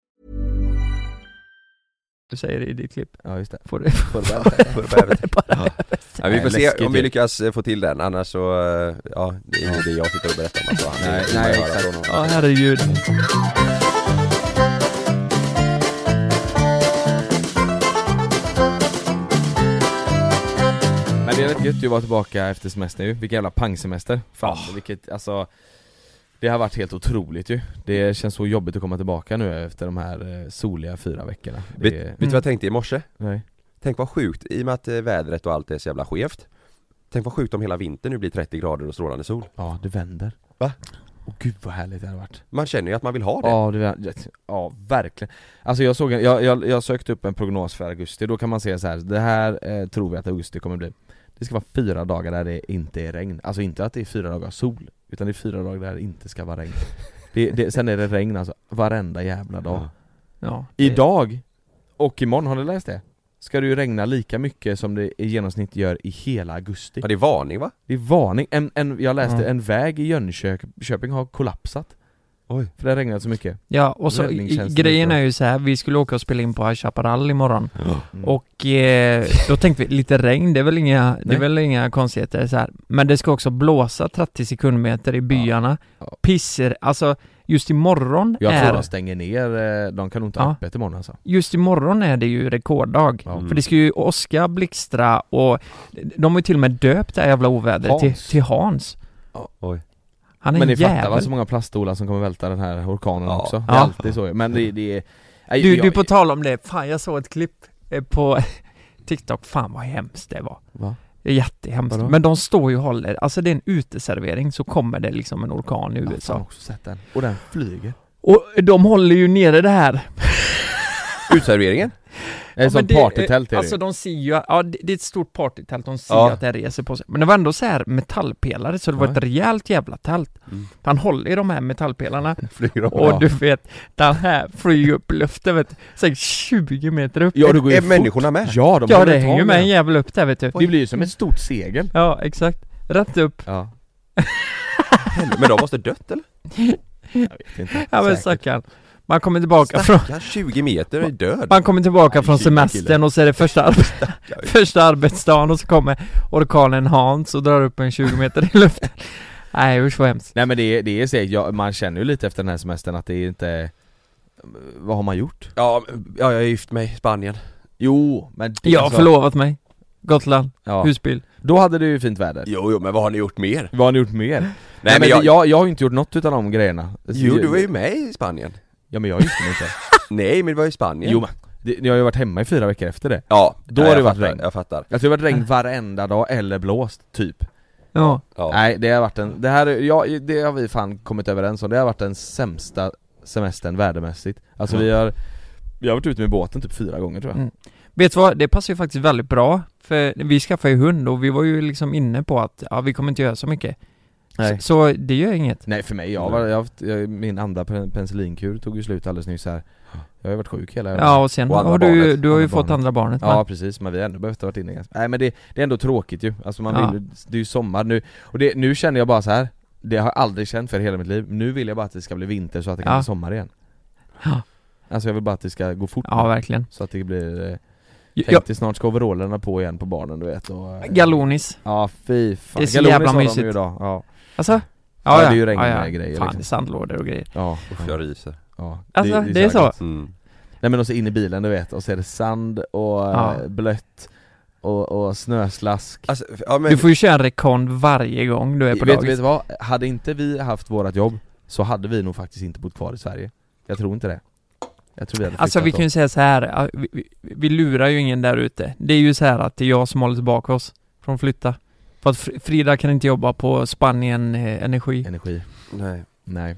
[SPEAKER 1] Du säger det i ditt klipp.
[SPEAKER 3] Ja just det
[SPEAKER 1] Får det,
[SPEAKER 2] Får det bara- får det bara- Ja. Ja, vi får
[SPEAKER 3] Nej,
[SPEAKER 2] se
[SPEAKER 3] läskigt
[SPEAKER 2] om vi
[SPEAKER 3] ju.
[SPEAKER 2] lyckas eh, få till den, annars så, eh, ja, det är ingen idé jag sitter och berättar om alltså. Han
[SPEAKER 3] Nej,
[SPEAKER 2] vill
[SPEAKER 3] nej,
[SPEAKER 2] man höra
[SPEAKER 3] exakt.
[SPEAKER 2] från
[SPEAKER 1] ja
[SPEAKER 2] honom.
[SPEAKER 1] herregud.
[SPEAKER 3] Men det är rätt gött ju att vara tillbaka efter semester ju, vilken jävla pangsemester Fan, vilket, alltså Det har varit helt otroligt ju Det känns så jobbigt att komma tillbaka nu efter de här eh, soliga fyra veckorna det,
[SPEAKER 2] Vet vet du
[SPEAKER 3] Mm.
[SPEAKER 2] vad jag tänkte i morse?
[SPEAKER 3] Nej
[SPEAKER 2] Tänk vad sjukt, i och med att eh, vädret och allt är så jävla skevt Tänk vad sjukt om hela vintern nu blir 30 grader och strålande sol
[SPEAKER 3] Ja, det vänder
[SPEAKER 2] Va?
[SPEAKER 3] Åh gud vad härligt det hade varit
[SPEAKER 2] Man känner ju att man vill ha det
[SPEAKER 3] Ja, det var, ja, ja verkligen. Alltså jag såg, en- jag, jag, jag sökte upp en prognos för augusti, då kan man se så här. det här eh, tror vi att augusti kommer bli Det ska vara fyra dagar där det inte är regn, alltså inte att det är fyra dagar sol, utan det är fyra dagar där det inte ska vara regn det, det, Sen är det regn alltså, varenda jävla dag
[SPEAKER 1] Ja.
[SPEAKER 3] Idag och imorgon, har du läst det? Ska det ju regna lika mycket som det i genomsnitt gör i hela augusti
[SPEAKER 2] Ja, det är varning va?
[SPEAKER 3] Det är varning, en, en, jag läste
[SPEAKER 1] Mm.
[SPEAKER 3] en väg i Jönköping har kollapsat
[SPEAKER 2] Oj.
[SPEAKER 3] För det regnade så mycket
[SPEAKER 1] Ja, och så
[SPEAKER 3] Räddningstjänsten
[SPEAKER 1] grejen
[SPEAKER 3] ute.
[SPEAKER 1] är ju så här, vi skulle åka och spela in på High Chaparral imorgon
[SPEAKER 3] Mm.
[SPEAKER 1] Och eh, då tänkte vi, lite regn, det är väl inga, det
[SPEAKER 3] Nej.
[SPEAKER 1] är väl inga konstigheter så här. Men det ska också blåsa 30 sekundmeter i byarna
[SPEAKER 3] Ja.
[SPEAKER 1] Pisser, alltså just imorgon
[SPEAKER 3] Jag tror
[SPEAKER 1] är,
[SPEAKER 3] de stänger ner, eh, de kan nog inte ha
[SPEAKER 1] Ja.
[SPEAKER 3] öppet imorgon alltså
[SPEAKER 1] just imorgon är det ju rekorddag
[SPEAKER 3] Ja.
[SPEAKER 1] För det ska ju åska, blixtra och de har ju till och med döpt det här jävla ovädret till,
[SPEAKER 3] Hans.
[SPEAKER 1] till Hans
[SPEAKER 2] Oj.
[SPEAKER 1] Han är men
[SPEAKER 3] Men ni
[SPEAKER 1] en
[SPEAKER 3] fattar va,
[SPEAKER 1] jävel
[SPEAKER 3] så många plaststolar som kommer välta den här orkanen
[SPEAKER 2] Ja.
[SPEAKER 3] också? Det är
[SPEAKER 1] Ja.
[SPEAKER 3] alltid så ju. men det, det är... Nej,
[SPEAKER 1] Du,
[SPEAKER 3] jag-
[SPEAKER 1] du på tal om det, fan jag såg ett klipp eh, på TikTok, fan vad hemskt det var
[SPEAKER 3] Va?
[SPEAKER 1] Det är jättehemskt,
[SPEAKER 3] Vadå?
[SPEAKER 1] men de står ju och håller, alltså det är en uteservering så kommer det liksom en orkan i
[SPEAKER 3] Ja, fan, Jag har
[SPEAKER 1] USA
[SPEAKER 3] också sett den, och den flyger
[SPEAKER 1] Och de håller ju nere det här!
[SPEAKER 2] Utserveringen?
[SPEAKER 3] Det är som
[SPEAKER 1] men det-
[SPEAKER 3] partytält är det
[SPEAKER 1] Alltså de ser ju, ja det det är ett stort partytält, de ser
[SPEAKER 2] Ja.
[SPEAKER 1] ju att det reser på sig Men det var ändå så här metallpelare, så det var
[SPEAKER 3] Ja.
[SPEAKER 1] ett rejält jävla tält
[SPEAKER 2] Mm.
[SPEAKER 1] Han håller i de här metallpelarna
[SPEAKER 2] Flyger de?
[SPEAKER 1] och
[SPEAKER 3] Ja.
[SPEAKER 1] du vet, den här flyger ju upp i luften vet du, säkert 20 meter upp
[SPEAKER 3] Ja, det går ju
[SPEAKER 2] är
[SPEAKER 3] fort.
[SPEAKER 2] människorna med?
[SPEAKER 3] Ja, de
[SPEAKER 1] Ja
[SPEAKER 3] håller
[SPEAKER 1] det
[SPEAKER 3] tag
[SPEAKER 1] hänger ju
[SPEAKER 3] i
[SPEAKER 1] med
[SPEAKER 3] den.
[SPEAKER 1] en jävel upp där vet du
[SPEAKER 3] Det blir ju som ett stort segel
[SPEAKER 1] Ja, exakt. Rätt upp.
[SPEAKER 3] Ja,
[SPEAKER 2] Men de måste dött eller?
[SPEAKER 3] jag vet inte
[SPEAKER 1] Ja men
[SPEAKER 3] Säkert.
[SPEAKER 1] stackarn. Man kommer tillbaka från,
[SPEAKER 2] Ja, 20 meter är död!
[SPEAKER 1] man kommer tillbaka
[SPEAKER 3] Nej,
[SPEAKER 1] från
[SPEAKER 3] kille,
[SPEAKER 1] semestern
[SPEAKER 3] kille.
[SPEAKER 1] och så är det första, arbe- första arbetsdagen och så kommer orkanen Hans och drar upp en 20 meter i luften. Nej usch vad hemskt.
[SPEAKER 3] Nej men det, det är säkert, ja, man känner ju lite efter den här semestern att det är inte Vad har man gjort?
[SPEAKER 2] Ja, ja, jag är gift mig i Spanien
[SPEAKER 3] Jo, men det alltså-
[SPEAKER 1] Jag har förlovat mig. Gotland,
[SPEAKER 3] ja.
[SPEAKER 1] husbil.
[SPEAKER 3] Då hade du ju fint väder
[SPEAKER 2] Jo, jo men vad har ni gjort mer? Nej,
[SPEAKER 3] Vad har ni gjort mer? Nej, men jag... Jag, har ju inte gjort något utav de grejerna Alltså,
[SPEAKER 2] Jo, du var ju med i Spanien
[SPEAKER 3] Ja men jag gifte mig inte
[SPEAKER 2] Nej, men det var i Spanien
[SPEAKER 3] Typ. Jo men, det, jag har ju varit hemma i fyra veckor efter det
[SPEAKER 2] Ja,
[SPEAKER 3] Då
[SPEAKER 2] ja,
[SPEAKER 3] har det
[SPEAKER 2] jag
[SPEAKER 3] varit
[SPEAKER 2] fattar,
[SPEAKER 3] regn.
[SPEAKER 2] Jag fattar
[SPEAKER 3] Jag tror det har varit regn varenda dag eller blåst, typ
[SPEAKER 1] Ja.
[SPEAKER 2] ja.
[SPEAKER 3] Nej det har varit en, det här, är- ja, det har vi fan kommit överens om, det har varit den sämsta semestern värdemässigt Alltså vi har, vi har varit ute med båten typ fyra gånger tror jag
[SPEAKER 1] Mm. Vet du vad, det passar ju faktiskt väldigt bra. För vi skaffade ju hund och vi var ju liksom inne på att ja, vi kommer inte göra så mycket.
[SPEAKER 3] Nej.
[SPEAKER 1] Så, så det gör inget.
[SPEAKER 3] Nej för mig, jag var, jag, har haft- jag, min andra pen- penicillinkur tog ju slut alldeles nyss här Jag har ju varit sjuk hela
[SPEAKER 1] Ja och sen
[SPEAKER 2] Och andra
[SPEAKER 1] har du, ju-
[SPEAKER 2] barnet.
[SPEAKER 1] du har ju
[SPEAKER 3] Andra
[SPEAKER 1] fått
[SPEAKER 3] barnet.
[SPEAKER 1] andra barnet
[SPEAKER 3] Ja
[SPEAKER 1] va?
[SPEAKER 3] precis, men vi har ändå behövt ha varit inne ganska Nej men det, det är ändå tråkigt ju, alltså man
[SPEAKER 1] Ja.
[SPEAKER 3] vill, det är ju sommar nu Och det, nu känner jag bara så här. det har jag aldrig känt för i hela mitt liv Nu vill jag bara att det ska bli vinter så att det kan
[SPEAKER 1] Ja.
[SPEAKER 3] bli sommar igen
[SPEAKER 1] Ja.
[SPEAKER 3] Alltså jag vill bara att det ska gå fort
[SPEAKER 1] Ja verkligen.
[SPEAKER 3] Så att det blir, eh, tänk
[SPEAKER 1] Jag,
[SPEAKER 3] dig snart ska overallerna på igen på barnen du vet och, eh,
[SPEAKER 1] Galonis.
[SPEAKER 3] Ja fy fan,
[SPEAKER 1] Det är så
[SPEAKER 3] Galonis
[SPEAKER 1] jävla
[SPEAKER 3] har de
[SPEAKER 1] mysigt.
[SPEAKER 3] ju idag, ja
[SPEAKER 1] Alltså?
[SPEAKER 3] Ja, det är ju regn med grejer,
[SPEAKER 1] Fan,
[SPEAKER 3] liksom.
[SPEAKER 1] sandlådor och grejer.
[SPEAKER 3] Ja,
[SPEAKER 2] Uff, jag ryser
[SPEAKER 3] ja.
[SPEAKER 1] Alltså, det är så.
[SPEAKER 3] gött.
[SPEAKER 2] mm.
[SPEAKER 3] Nej men och så in i bilen du vet, och så är det sand och
[SPEAKER 1] Ja.
[SPEAKER 3] eh, blött och, och snöslask
[SPEAKER 2] Alltså, ja men
[SPEAKER 1] Du får ju köra en rekon varje gång du är på
[SPEAKER 3] vet, vet
[SPEAKER 1] dagis.
[SPEAKER 3] du vad? Hade inte vi haft vårat jobb så hade vi nog faktiskt inte bott kvar i Sverige Jag tror inte det Jag tror vi hade
[SPEAKER 1] Alltså
[SPEAKER 3] flyttat
[SPEAKER 1] vi kan
[SPEAKER 3] då.
[SPEAKER 1] ju säga så här, ja, vi, vi, vi lurar ju ingen där ute. Det är ju så här att det är jag som håller tillbaka oss från att flytta. För att Fr- Frida kan inte jobba på Spanien eh, Energi.
[SPEAKER 3] Energi,
[SPEAKER 2] Nej
[SPEAKER 3] nej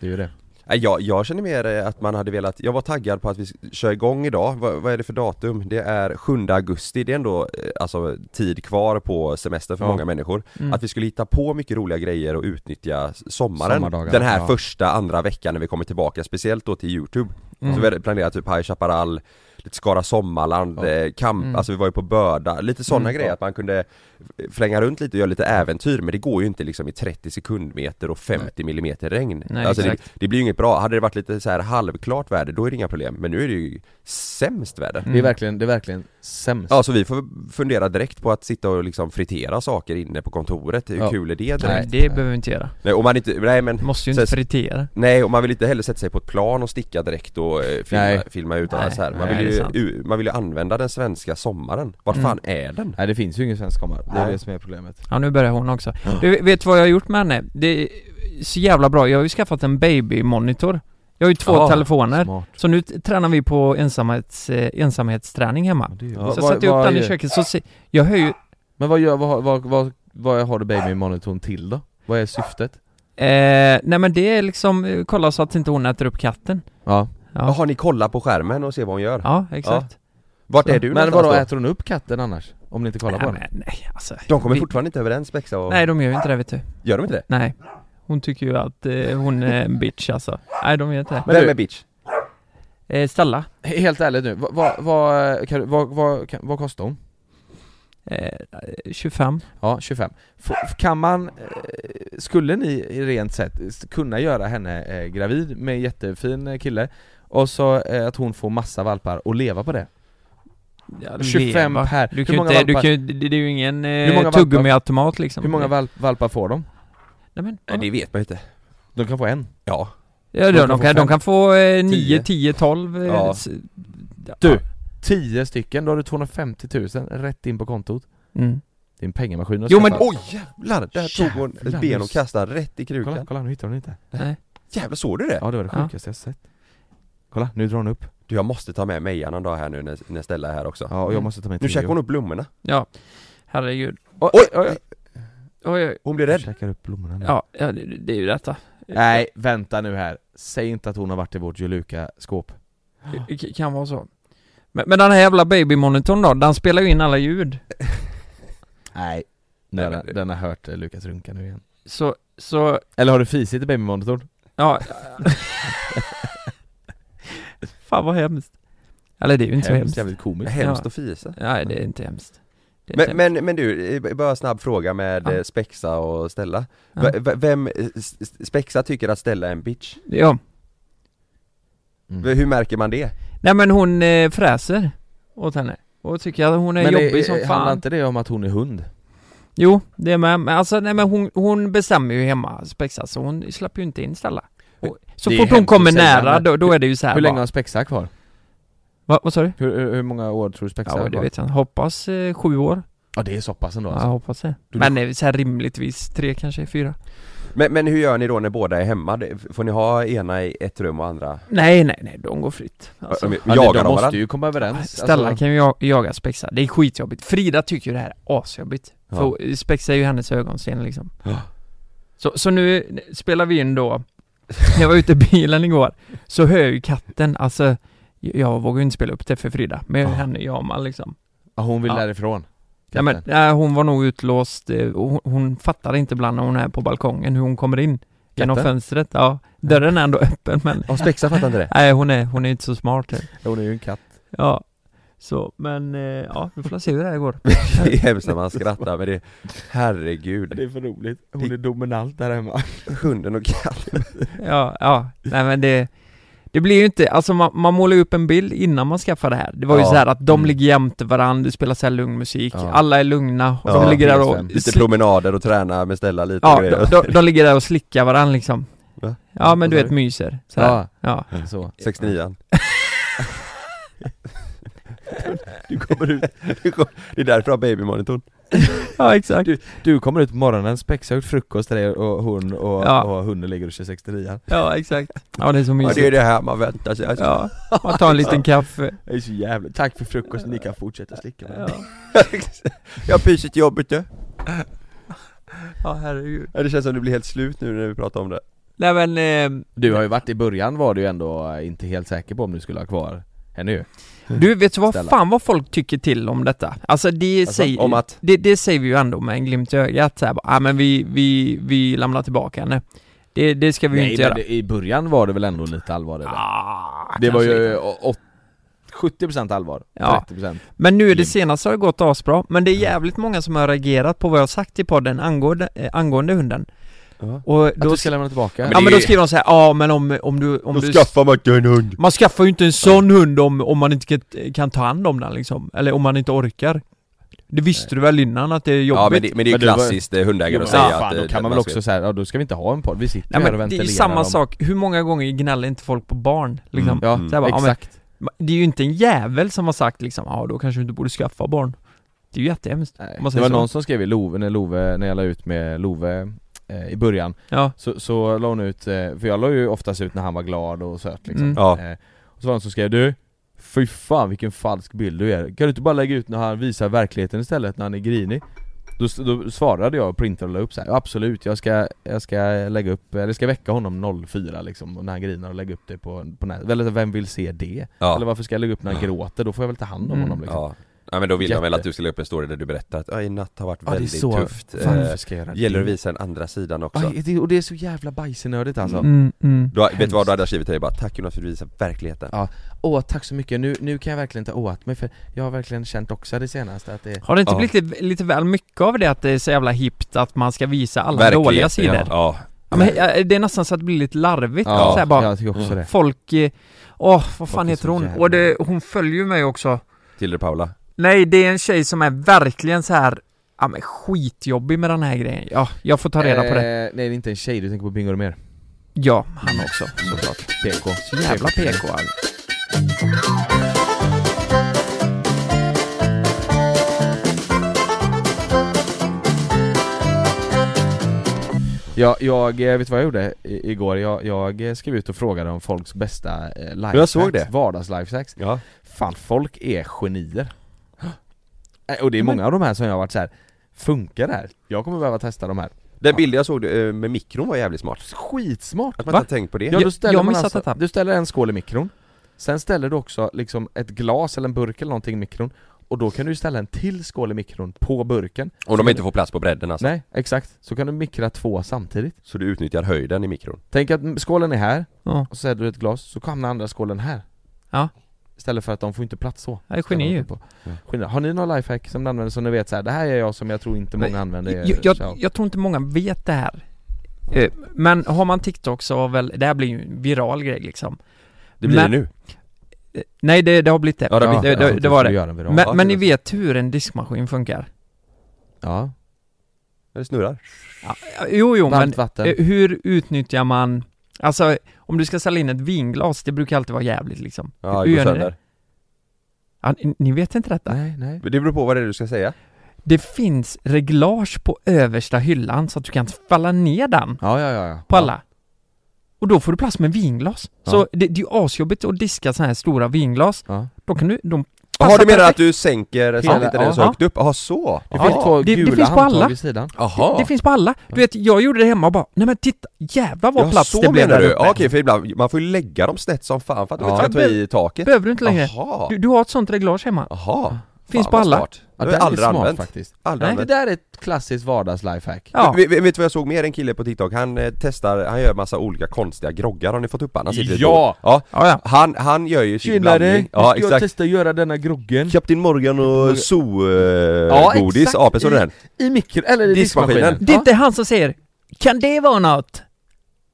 [SPEAKER 3] det är ju det
[SPEAKER 2] Nej, jag, jag känner mer eh, att man hade velat, jag var taggad på att vi s- kör igång idag, vad, vad är det för datum? Det är 7 augusti, det är ändå eh, alltså, tid kvar på semester för
[SPEAKER 3] Ja.
[SPEAKER 2] många människor
[SPEAKER 1] Mm.
[SPEAKER 2] Att vi skulle hitta på mycket roliga grejer och utnyttja s- sommaren
[SPEAKER 3] Sommardagarna,
[SPEAKER 2] Den här
[SPEAKER 3] ja.
[SPEAKER 2] första, andra veckan när vi kommer tillbaka, speciellt då till Youtube
[SPEAKER 1] Mm.
[SPEAKER 2] Så vi hade planerat typ High Chaparral, lite Skara Sommarland,
[SPEAKER 3] Ja.
[SPEAKER 2] eh, kamp,
[SPEAKER 1] Mm.
[SPEAKER 2] alltså vi var ju på Böda, lite sådana
[SPEAKER 1] Mm,
[SPEAKER 2] grejer
[SPEAKER 1] ja.
[SPEAKER 2] att man kunde f- flänga runt lite och göra lite äventyr men det går ju inte liksom i 30 sekundmeter och 50 millimeter regn
[SPEAKER 1] Nej,
[SPEAKER 2] alltså det,
[SPEAKER 1] exakt.
[SPEAKER 2] det blir ju inget bra, hade det varit lite så här halvklart väder då är det inga problem men nu är det ju sämst väder
[SPEAKER 1] Mm.
[SPEAKER 3] Det är verkligen, det är verkligen sämst
[SPEAKER 2] Ja så vi får fundera direkt på att sitta och liksom fritera saker inne på kontoret, hur
[SPEAKER 3] Ja.
[SPEAKER 2] kul är det direkt?
[SPEAKER 1] Nej,
[SPEAKER 3] Nej.
[SPEAKER 1] det behöver vi inte göra.
[SPEAKER 2] Nej, och man inte, nej men
[SPEAKER 1] Du måste ju
[SPEAKER 2] Så-
[SPEAKER 1] inte fritera.
[SPEAKER 2] Nej och man vill inte heller sätta sig på ett plan och sticka direkt och eh, filma,
[SPEAKER 3] Nej.
[SPEAKER 2] filma utan
[SPEAKER 1] Nej,
[SPEAKER 2] så här. Man,
[SPEAKER 1] nej,
[SPEAKER 2] vill
[SPEAKER 1] det är
[SPEAKER 2] ju,
[SPEAKER 1] sant.
[SPEAKER 2] u- man vill ju använda den svenska sommaren, vart fan är den?
[SPEAKER 3] Nej det finns ju ingen svensk sommar, det är
[SPEAKER 2] Nej.
[SPEAKER 3] det som är problemet
[SPEAKER 1] Ja nu börjar hon också. Du, vet du vad jag har gjort med henne? Det är så jävla bra. Jag har ju skaffat en babymonitor. Jag har ju två
[SPEAKER 2] Ja,
[SPEAKER 1] telefoner.
[SPEAKER 3] Smart
[SPEAKER 1] Så nu t- tränar vi på ensamhets, eh, ensamhetsträning hemma.
[SPEAKER 3] Ja, det är ju-
[SPEAKER 2] Så
[SPEAKER 3] Va-
[SPEAKER 1] Så
[SPEAKER 3] va-
[SPEAKER 1] satte jag upp
[SPEAKER 3] vad
[SPEAKER 1] den i
[SPEAKER 3] gör-
[SPEAKER 1] köket, så se, jag hör ju,
[SPEAKER 3] Men vad gör, vad, vad, vad, vad har du babymonitorn till då? Vad är syftet?
[SPEAKER 1] eh, nej men det är liksom, eh, kolla så att inte hon äter upp katten.
[SPEAKER 3] Ja,
[SPEAKER 1] Ja,
[SPEAKER 2] Jaha ni kollar på skärmen och ser vad hon gör?
[SPEAKER 1] ja exakt.
[SPEAKER 2] Vart
[SPEAKER 1] Så.
[SPEAKER 2] är du
[SPEAKER 3] Men
[SPEAKER 2] någonstans
[SPEAKER 3] vadå,
[SPEAKER 2] då?
[SPEAKER 3] äter hon upp katten annars? Om ni inte kollar på
[SPEAKER 1] nej,
[SPEAKER 3] den?
[SPEAKER 1] men, nej, alltså,
[SPEAKER 2] De kommer
[SPEAKER 1] vi-
[SPEAKER 2] fortfarande inte överens Bexa och...
[SPEAKER 1] Nej de gör ju inte det vet du.
[SPEAKER 2] Gör de inte det?
[SPEAKER 1] Nej. Hon tycker ju att eh, hon är en bitch alltså. Nej de gör inte det.
[SPEAKER 2] Vem
[SPEAKER 3] du-
[SPEAKER 2] är bitch?
[SPEAKER 1] Eh, Stella,
[SPEAKER 3] Helt ärligt nu, vad, vad, vad, kan du- vad, vad, kan- vad kostar hon?
[SPEAKER 1] eh, 25
[SPEAKER 3] Ja, 25. F- kan man, eh, skulle ni rent sett s- kunna göra henne eh, gravid med en jättefin eh, kille och så eh, att hon får massa valpar och leva på det?
[SPEAKER 1] Ja,
[SPEAKER 3] 25
[SPEAKER 1] leva.
[SPEAKER 3] per.
[SPEAKER 1] Du
[SPEAKER 3] Hur
[SPEAKER 1] kan ju
[SPEAKER 3] många
[SPEAKER 1] inte, du
[SPEAKER 3] valpar-
[SPEAKER 1] kan, ju- det det är ju ingen
[SPEAKER 3] Hur många
[SPEAKER 1] eh,
[SPEAKER 3] valpar-
[SPEAKER 1] tuggummiautomat liksom
[SPEAKER 3] Hur många val- valpar får de?
[SPEAKER 1] Nej, men,
[SPEAKER 2] Nej, det vet man ju inte
[SPEAKER 3] De kan få en.
[SPEAKER 2] Ja,
[SPEAKER 1] ja,
[SPEAKER 3] de
[SPEAKER 1] de,
[SPEAKER 3] kan
[SPEAKER 1] de,
[SPEAKER 3] få
[SPEAKER 1] kan,
[SPEAKER 3] fem.
[SPEAKER 1] de kan få eh, 9, 10,
[SPEAKER 2] Tio.
[SPEAKER 1] 12
[SPEAKER 2] Ja.
[SPEAKER 3] Du. 10 stycken, då har du 250 000 rätt in på kontot.
[SPEAKER 1] Mm.
[SPEAKER 3] Det är en pengamaskin du har
[SPEAKER 1] Jo, men-
[SPEAKER 3] skaffat.
[SPEAKER 2] Oj jävlar! Där tog hon
[SPEAKER 3] Jävlar,
[SPEAKER 2] ett ben
[SPEAKER 3] nu
[SPEAKER 2] och
[SPEAKER 3] s-
[SPEAKER 2] kastade rätt i krukan
[SPEAKER 3] Kolla, kolla nu hittar hon inte.
[SPEAKER 2] Jävlar såg du det?
[SPEAKER 3] Ja det var det
[SPEAKER 1] Ja.
[SPEAKER 3] sjukaste jag sett. Kolla, nu drar hon upp.
[SPEAKER 2] Du jag måste ta med Mejan en dag här nu när, när Stella är här också Mm.
[SPEAKER 3] Ja och
[SPEAKER 1] Mm.
[SPEAKER 3] jag måste ta med
[SPEAKER 2] Nu
[SPEAKER 3] Theo.
[SPEAKER 2] käkar hon upp blommorna
[SPEAKER 1] Ja, herregud
[SPEAKER 3] Oj, oj, oj.
[SPEAKER 1] Oj, oj.
[SPEAKER 2] Hon blir
[SPEAKER 3] Hon
[SPEAKER 2] rädd
[SPEAKER 3] käkar upp blommorna nu.
[SPEAKER 1] Ja, ja det, det är ju detta
[SPEAKER 3] Nej, vänta nu här. Säg inte att hon har varit i vårt Joluka-skåp.
[SPEAKER 1] Det k- kan vara så men, men den här jävla babymonitorn då, den spelar ju in alla ljud
[SPEAKER 3] Nej.
[SPEAKER 2] Nej,
[SPEAKER 3] Den,
[SPEAKER 2] men det-
[SPEAKER 3] den har hört eh, Lukas runka nu igen.
[SPEAKER 1] Så, så,
[SPEAKER 3] Eller har du fisit i babymonitorn?
[SPEAKER 1] ja Fan vad hemskt Eller det är ju inte så hemskt
[SPEAKER 3] Jävligt komiskt.
[SPEAKER 2] Hemskt att fisa
[SPEAKER 1] Nej det är inte hemskt Det är
[SPEAKER 2] men,
[SPEAKER 1] inte
[SPEAKER 2] men, men du, eh, bara en snabb fråga med
[SPEAKER 1] typ. Ja.
[SPEAKER 2] eh, Spexa och Stella
[SPEAKER 1] Ja.
[SPEAKER 2] V- v- Vem, eh, s- s- Spexa tycker att Stella är en bitch?
[SPEAKER 1] hemskt. Ja,
[SPEAKER 3] Mm.
[SPEAKER 2] V- Hur märker man det?
[SPEAKER 1] nej men hon eh, fräser åt henne och tycker att hon är
[SPEAKER 3] Men
[SPEAKER 1] jobbig
[SPEAKER 3] det,
[SPEAKER 1] som
[SPEAKER 3] handlar
[SPEAKER 1] fan
[SPEAKER 3] inte det om att hon är hund?
[SPEAKER 1] Jo, det är med, men alltså nej men hon, hon bestämmer ju hemma Spexa så hon släpper ju inte in Stella och, Så
[SPEAKER 3] Det är
[SPEAKER 1] fort hon
[SPEAKER 3] hemskt
[SPEAKER 1] kommer
[SPEAKER 3] att säga,
[SPEAKER 1] nära
[SPEAKER 3] men-
[SPEAKER 1] då, då är det ju så här
[SPEAKER 3] Hur länge
[SPEAKER 1] bara,
[SPEAKER 3] har Spexa kvar?
[SPEAKER 1] Va, Vad sa du?
[SPEAKER 3] Hur, hur hur många år tror du Spexa
[SPEAKER 1] Ja,
[SPEAKER 3] har
[SPEAKER 1] det
[SPEAKER 3] kvar?
[SPEAKER 1] vet jag inte. Hoppas eh, sju år.
[SPEAKER 3] Ja det är så pass ändå
[SPEAKER 1] Ja,
[SPEAKER 3] alltså.
[SPEAKER 1] jag hoppas det.
[SPEAKER 3] Du-
[SPEAKER 1] Men eh, så här rimligtvis tre kanske, fyra.
[SPEAKER 2] Men, men hur gör ni då när båda är hemma? Det- f- Får ni ha ena i ett rum och andra?
[SPEAKER 1] Nej, nej, nej, de går fritt. Alltså,
[SPEAKER 2] Alltså,
[SPEAKER 3] Ja,
[SPEAKER 2] jagar
[SPEAKER 3] de
[SPEAKER 2] de
[SPEAKER 3] måste
[SPEAKER 2] varandra?
[SPEAKER 3] ju komma överens.
[SPEAKER 1] Stella
[SPEAKER 3] alltså,
[SPEAKER 1] kan ju jag- jaga Spexa. Det är skitjobbigt. Frida tycker ju det här är asjobbigt.
[SPEAKER 2] Ja.
[SPEAKER 1] För eh, Spexa är ju hennes ögonsten liksom.
[SPEAKER 2] Ja.
[SPEAKER 1] Så, så nu spelar vi in då. När jag var ute i bilen igår så hör jag ju katten, alltså jag vågar ju inte spela upp det för Frida, men jag hör
[SPEAKER 3] Ja.
[SPEAKER 1] henne jamar liksom.
[SPEAKER 3] ja, hon vill
[SPEAKER 1] Ja.
[SPEAKER 3] därifrån.
[SPEAKER 1] Ja, men,
[SPEAKER 3] Katten.
[SPEAKER 1] nej, hon var nog utlåst eh, och hon, hon fattar inte ibland när hon är på balkongen hur hon kommer in Genom
[SPEAKER 3] Katten?
[SPEAKER 1] fönstret, ja Dörren är ändå öppen men
[SPEAKER 2] Ja, Spexa fattar inte det?
[SPEAKER 1] Nej hon är, hon är inte så smart typ.
[SPEAKER 3] Ja, Hon är ju en katt.
[SPEAKER 1] Ja Så, men eh, ja, vi får se hur det här går
[SPEAKER 2] Det är hemskt när man skrattar men det, herregud
[SPEAKER 3] är för roligt. Hon är dominant där hemma.
[SPEAKER 2] Hunden och katten
[SPEAKER 1] Ja, ja, nej men det Det blir ju inte, alltså man, man målar ju upp en bild innan man skaffar det här Det var ju
[SPEAKER 2] Ja.
[SPEAKER 1] så här att de
[SPEAKER 3] Mm.
[SPEAKER 1] ligger jämte varandra, det spelar så här lugn musik,
[SPEAKER 3] Ja.
[SPEAKER 1] alla är lugna, och
[SPEAKER 2] Ja,
[SPEAKER 1] de ligger där och
[SPEAKER 3] PS5.
[SPEAKER 2] Lite
[SPEAKER 1] sli-
[SPEAKER 2] promenader och träna med Stella lite
[SPEAKER 1] Ja,
[SPEAKER 2] och grejer.
[SPEAKER 1] de, de, de ligger där och slickar varandra liksom
[SPEAKER 2] Va?
[SPEAKER 1] Ja men du
[SPEAKER 3] Vad sa
[SPEAKER 1] vet
[SPEAKER 3] du?
[SPEAKER 1] myser, så här.
[SPEAKER 3] Ja,
[SPEAKER 1] ja
[SPEAKER 3] så.
[SPEAKER 2] 69
[SPEAKER 3] Du kommer ut,
[SPEAKER 2] Det är därför jag har babymonitorn
[SPEAKER 1] Ja exakt
[SPEAKER 3] du kommer ut på morgonen, Spexa har gjort frukost till dig och hon och,
[SPEAKER 1] Ja.
[SPEAKER 3] och hunden ligger och kör 69
[SPEAKER 1] Ja exakt Ja det är så
[SPEAKER 2] Ja det är
[SPEAKER 1] mysigt
[SPEAKER 2] det här man väntar sig alltså.
[SPEAKER 1] Ja, man tar en liten kaffe
[SPEAKER 3] Det är så jävla, tack för frukosten, ni kan fortsätta slicka
[SPEAKER 1] Ja,
[SPEAKER 2] Jag har pyset i jobbet du
[SPEAKER 1] ja herregud
[SPEAKER 2] ja, Det känns som det blir helt slut nu när vi pratar om det
[SPEAKER 1] Nej men, eh,
[SPEAKER 3] Du har ju varit, i början var du ju ändå eh, inte helt säker på om du skulle ha kvar henne ju
[SPEAKER 2] Mm.
[SPEAKER 1] du vet du vad
[SPEAKER 3] Ställa.
[SPEAKER 1] fan vad folk tycker till om detta? Alltså det
[SPEAKER 2] Alltså,
[SPEAKER 1] säger
[SPEAKER 2] om att-
[SPEAKER 1] det, det säger vi ju ändå med en glimt i ögat såhär bara, ah, men vi, vi, vi lämnar tillbaka henne Det, det ska vi ju
[SPEAKER 3] Nej
[SPEAKER 1] inte
[SPEAKER 3] men
[SPEAKER 1] göra
[SPEAKER 3] det, i början var det väl ändå lite allvar i det?
[SPEAKER 1] ah,
[SPEAKER 3] Det var
[SPEAKER 1] kanske
[SPEAKER 3] ju
[SPEAKER 1] lite.
[SPEAKER 3] å- åt- 70% allvar,
[SPEAKER 1] Ja.
[SPEAKER 3] 30%
[SPEAKER 1] Men nu är det
[SPEAKER 3] glimt.
[SPEAKER 1] senaste har det gått asbra, men det är jävligt många som har reagerat på vad jag har sagt i podden angående, eh, angående hunden
[SPEAKER 2] Ja.
[SPEAKER 1] Och
[SPEAKER 3] Att
[SPEAKER 1] då
[SPEAKER 3] du ska lämna tillbaka?
[SPEAKER 1] Ja men då skriver de så här, ja men om, om du, om du
[SPEAKER 2] man inte en hund
[SPEAKER 1] Man skaffar ju inte en sån hund om, om man inte kan, kan ta hand om den liksom, eller om man inte orkar Det visste du väl innan att det är jobbigt?
[SPEAKER 2] Ja men det, men det är ju
[SPEAKER 3] Men det var-
[SPEAKER 2] klassiskt eh, hundägare
[SPEAKER 3] Ja,
[SPEAKER 2] att säga
[SPEAKER 3] fan,
[SPEAKER 2] att
[SPEAKER 3] då
[SPEAKER 2] eh,
[SPEAKER 3] kan man väl
[SPEAKER 2] ska-
[SPEAKER 3] också säga, ja då ska vi inte ha en podd, vi sitter
[SPEAKER 1] Nej,
[SPEAKER 3] här och
[SPEAKER 1] men det är
[SPEAKER 3] ventilerar
[SPEAKER 1] ju samma
[SPEAKER 3] om-
[SPEAKER 1] sak, hur många gånger gnäller inte folk på barn? Liksom.
[SPEAKER 2] Mm.
[SPEAKER 3] Ja,
[SPEAKER 1] Så här bara, ja, men-
[SPEAKER 3] exakt
[SPEAKER 1] Det är ju inte en jävel som har sagt liksom, ja då kanske du inte borde skaffa barn Det är ju jättehemskt
[SPEAKER 3] Nej,
[SPEAKER 1] om man
[SPEAKER 3] Det
[SPEAKER 1] säger
[SPEAKER 3] var
[SPEAKER 1] så.
[SPEAKER 3] någon som skrev i Love, när Love, när jag la ut med Love eh, i början
[SPEAKER 1] Ja,
[SPEAKER 3] Så, så la hon ut, eh, för jag la ju oftast ut när han var glad och söt liksom
[SPEAKER 1] Mm.
[SPEAKER 2] Ja.
[SPEAKER 3] Eh, Och så var det någon som skrev du, fy fan vilken falsk bild du ger, kan du inte bara lägga ut när han visar verkligheten istället, när han är grinig? Då, s- då svarade jag och printade och la upp så här. "Ja, absolut jag ska, jag ska lägga upp, eller ska väcka honom 04 liksom, och när han grinar och lägga upp det på, på nätet, eller vem vill se det?
[SPEAKER 2] Ja,
[SPEAKER 3] Eller varför ska jag lägga upp när han gråter? Då får jag väl ta hand om
[SPEAKER 1] Mm.
[SPEAKER 3] honom liksom.
[SPEAKER 2] ja. Ja men då vill jag väl
[SPEAKER 3] Jätte.
[SPEAKER 2] att du ska lägga upp en story där du berättar att "Ja, i natt har varit
[SPEAKER 3] Ja, det är
[SPEAKER 2] väldigt
[SPEAKER 3] så
[SPEAKER 2] tufft eh,
[SPEAKER 3] Konfiskerad
[SPEAKER 2] Gäller att visa den andra sidan också
[SPEAKER 3] Aj, det, Och det är så jävla bajsenördigt alltså
[SPEAKER 1] Mm, mm.
[SPEAKER 2] du har, Vet du vad du hade skrivit till dig? Bara tack Jonas för att du visar verkligheten
[SPEAKER 3] Ja. Åh tack så mycket, nu, nu kan jag verkligen ta åt mig för jag har verkligen känt också det senaste att det
[SPEAKER 1] Har det inte
[SPEAKER 2] Ja.
[SPEAKER 1] blivit lite, lite väl mycket av det att det är så jävla hippt att man ska visa alla
[SPEAKER 2] Verkligheten,
[SPEAKER 1] dåliga sidor?
[SPEAKER 2] ja,
[SPEAKER 1] Ja.
[SPEAKER 2] ja.
[SPEAKER 1] men, eh, det är nästan så att det blir lite larvigt, så här bara,
[SPEAKER 3] jag tycker också det
[SPEAKER 1] folk... eh, Åh, vad fan
[SPEAKER 3] Folk är
[SPEAKER 1] heter
[SPEAKER 3] så
[SPEAKER 1] hon?
[SPEAKER 3] jävla-
[SPEAKER 1] Och det, hon följer ju mig också
[SPEAKER 2] Till dig Paula
[SPEAKER 1] Nej, det är en tjej som är verkligen så här Ja men skitjobbig med den här grejen, ja, jag får ta reda på det
[SPEAKER 3] Eh, nej det är inte en tjej, du tänker på Bingo mer.
[SPEAKER 1] Ja, han också såklart
[SPEAKER 3] PK
[SPEAKER 1] Så jävla PK alltså. han.
[SPEAKER 3] Ja, jag, eh, vet du vad jag gjorde i, igår? Jag, jag eh, skrev ut och frågade om folks bästa eh, lifehacks,
[SPEAKER 2] Jag såg det.
[SPEAKER 3] vardagslifehacks
[SPEAKER 2] Ja
[SPEAKER 3] Fan, folk är genier Eh, Och det är många av de här som jag har varit så här. funkar det här? Jag kommer behöva testa de här
[SPEAKER 2] Den bilden jag såg eh, med mikron var jävligt smart
[SPEAKER 3] Skitsmart!
[SPEAKER 2] Att man
[SPEAKER 1] Va?
[SPEAKER 2] inte har tänkt på det
[SPEAKER 3] Ja, då
[SPEAKER 1] Jag-
[SPEAKER 3] ställer
[SPEAKER 1] jag har
[SPEAKER 3] man
[SPEAKER 1] missat
[SPEAKER 3] alltså,
[SPEAKER 1] detta.
[SPEAKER 3] Du ställer en skål i mikron Sen ställer du också liksom ett glas eller en burk eller någonting i mikron Och då kan du ställa en till skål i mikron på burken
[SPEAKER 2] Om de inte får plats på bredden alltså.
[SPEAKER 3] Nej, exakt. Så kan du mikra två samtidigt
[SPEAKER 2] Så du utnyttjar höjden i mikron
[SPEAKER 3] Tänk att skålen är här,
[SPEAKER 1] Ja.
[SPEAKER 3] och så sätter du ett glas, så hamnar andra skålen här
[SPEAKER 1] Ja.
[SPEAKER 3] Istället för att de får inte plats så
[SPEAKER 1] Jag är geni ju.
[SPEAKER 3] på. Geni. Har ni några lifehack som ni använder som ni vet så här, det här är jag som jag tror inte många
[SPEAKER 1] Nej,
[SPEAKER 3] använder
[SPEAKER 1] jag, jag, jag tror inte många vet det här Eh, Men har man TikTok så har väl, det här blir ju en viral grej liksom
[SPEAKER 2] Det blir
[SPEAKER 1] Men-
[SPEAKER 2] det nu
[SPEAKER 1] Eh, Nej det, det har blivit det,
[SPEAKER 2] Ja, det har blivit
[SPEAKER 1] det, det, det var det
[SPEAKER 3] Men,
[SPEAKER 1] men, men ni vet hur en diskmaskin funkar?
[SPEAKER 3] ja,
[SPEAKER 2] Ja, Det snurrar
[SPEAKER 1] Ja, jo, jo, men
[SPEAKER 3] varmt vatten
[SPEAKER 1] Eh, Hur utnyttjar man, alltså om du ska sälja in ett vinglas, det brukar alltid vara jävligt liksom.
[SPEAKER 2] Ja,
[SPEAKER 1] hur
[SPEAKER 2] det går
[SPEAKER 1] gör ni
[SPEAKER 2] sönder
[SPEAKER 1] det? Ja, ni- ni vet inte detta?
[SPEAKER 3] Nej, nej
[SPEAKER 2] Det beror på vad det är du ska säga
[SPEAKER 1] Det finns reglage på översta hyllan så att du kan falla ner den
[SPEAKER 3] Ja, ja, ja, ja.
[SPEAKER 1] på alla. Och då får du plats med vinglas.
[SPEAKER 3] Ja.
[SPEAKER 1] Så det, det är ju asjobbigt att diska sådana här stora vinglas.
[SPEAKER 3] Ja.
[SPEAKER 1] Då kan du, de
[SPEAKER 2] Jaha du
[SPEAKER 1] passar
[SPEAKER 2] menar att
[SPEAKER 1] perfekt.
[SPEAKER 2] du sänker så att
[SPEAKER 3] Hela-
[SPEAKER 2] inte den är så
[SPEAKER 1] ja.
[SPEAKER 2] högt upp? Jaha så!
[SPEAKER 3] Det
[SPEAKER 2] Ja.
[SPEAKER 3] finns två
[SPEAKER 1] det- det
[SPEAKER 3] gula
[SPEAKER 1] finns på
[SPEAKER 3] handtag
[SPEAKER 1] alla.
[SPEAKER 3] vid sidan
[SPEAKER 2] Jaha.
[SPEAKER 1] det, det finns på alla. Du vet, jag gjorde det hemma och bara, nej men titta, jävlar vad
[SPEAKER 2] ja,
[SPEAKER 1] plats
[SPEAKER 2] så
[SPEAKER 1] det blev
[SPEAKER 2] menar
[SPEAKER 1] där
[SPEAKER 2] du?
[SPEAKER 1] uppe.
[SPEAKER 2] Ja, Okej, för ibland, man får ju lägga dem snett som fan för att de
[SPEAKER 3] Ja.
[SPEAKER 2] inte ska ta i taket
[SPEAKER 1] Behöver du inte längre.
[SPEAKER 2] Jaha,
[SPEAKER 1] Du, du har ett sånt reglage hemma.
[SPEAKER 2] jaha
[SPEAKER 1] Finns
[SPEAKER 2] Fan,
[SPEAKER 1] på
[SPEAKER 2] vad
[SPEAKER 1] alla.
[SPEAKER 2] smart.
[SPEAKER 3] ja,
[SPEAKER 2] Det har jag
[SPEAKER 3] är
[SPEAKER 2] aldrig
[SPEAKER 3] smart
[SPEAKER 2] använt
[SPEAKER 3] faktiskt
[SPEAKER 2] Aldrig
[SPEAKER 3] Det
[SPEAKER 2] använt
[SPEAKER 3] där är ett klassiskt vardags-lifehack
[SPEAKER 1] Ja.
[SPEAKER 2] Vet, vet vet du vad jag såg mer? En kille på TikTok, han eh, testar, han gör massa olika konstiga groggar, har ni fått upp han? han sitter i ett
[SPEAKER 3] Ja.
[SPEAKER 2] bord. ja!
[SPEAKER 1] Ja, ja.
[SPEAKER 2] Han, han gör ju sin blandning Ja exakt
[SPEAKER 3] testa göra denna groggen
[SPEAKER 2] Kapten Morgan och
[SPEAKER 3] Ja,
[SPEAKER 2] zoo-godis, eh,
[SPEAKER 3] exakt.
[SPEAKER 2] ja, apor, såg du den?
[SPEAKER 3] I mikro, eller i
[SPEAKER 2] Diskmaskinen.
[SPEAKER 3] diskmaskinen,
[SPEAKER 1] Det är inte han som säger, kan det vara något?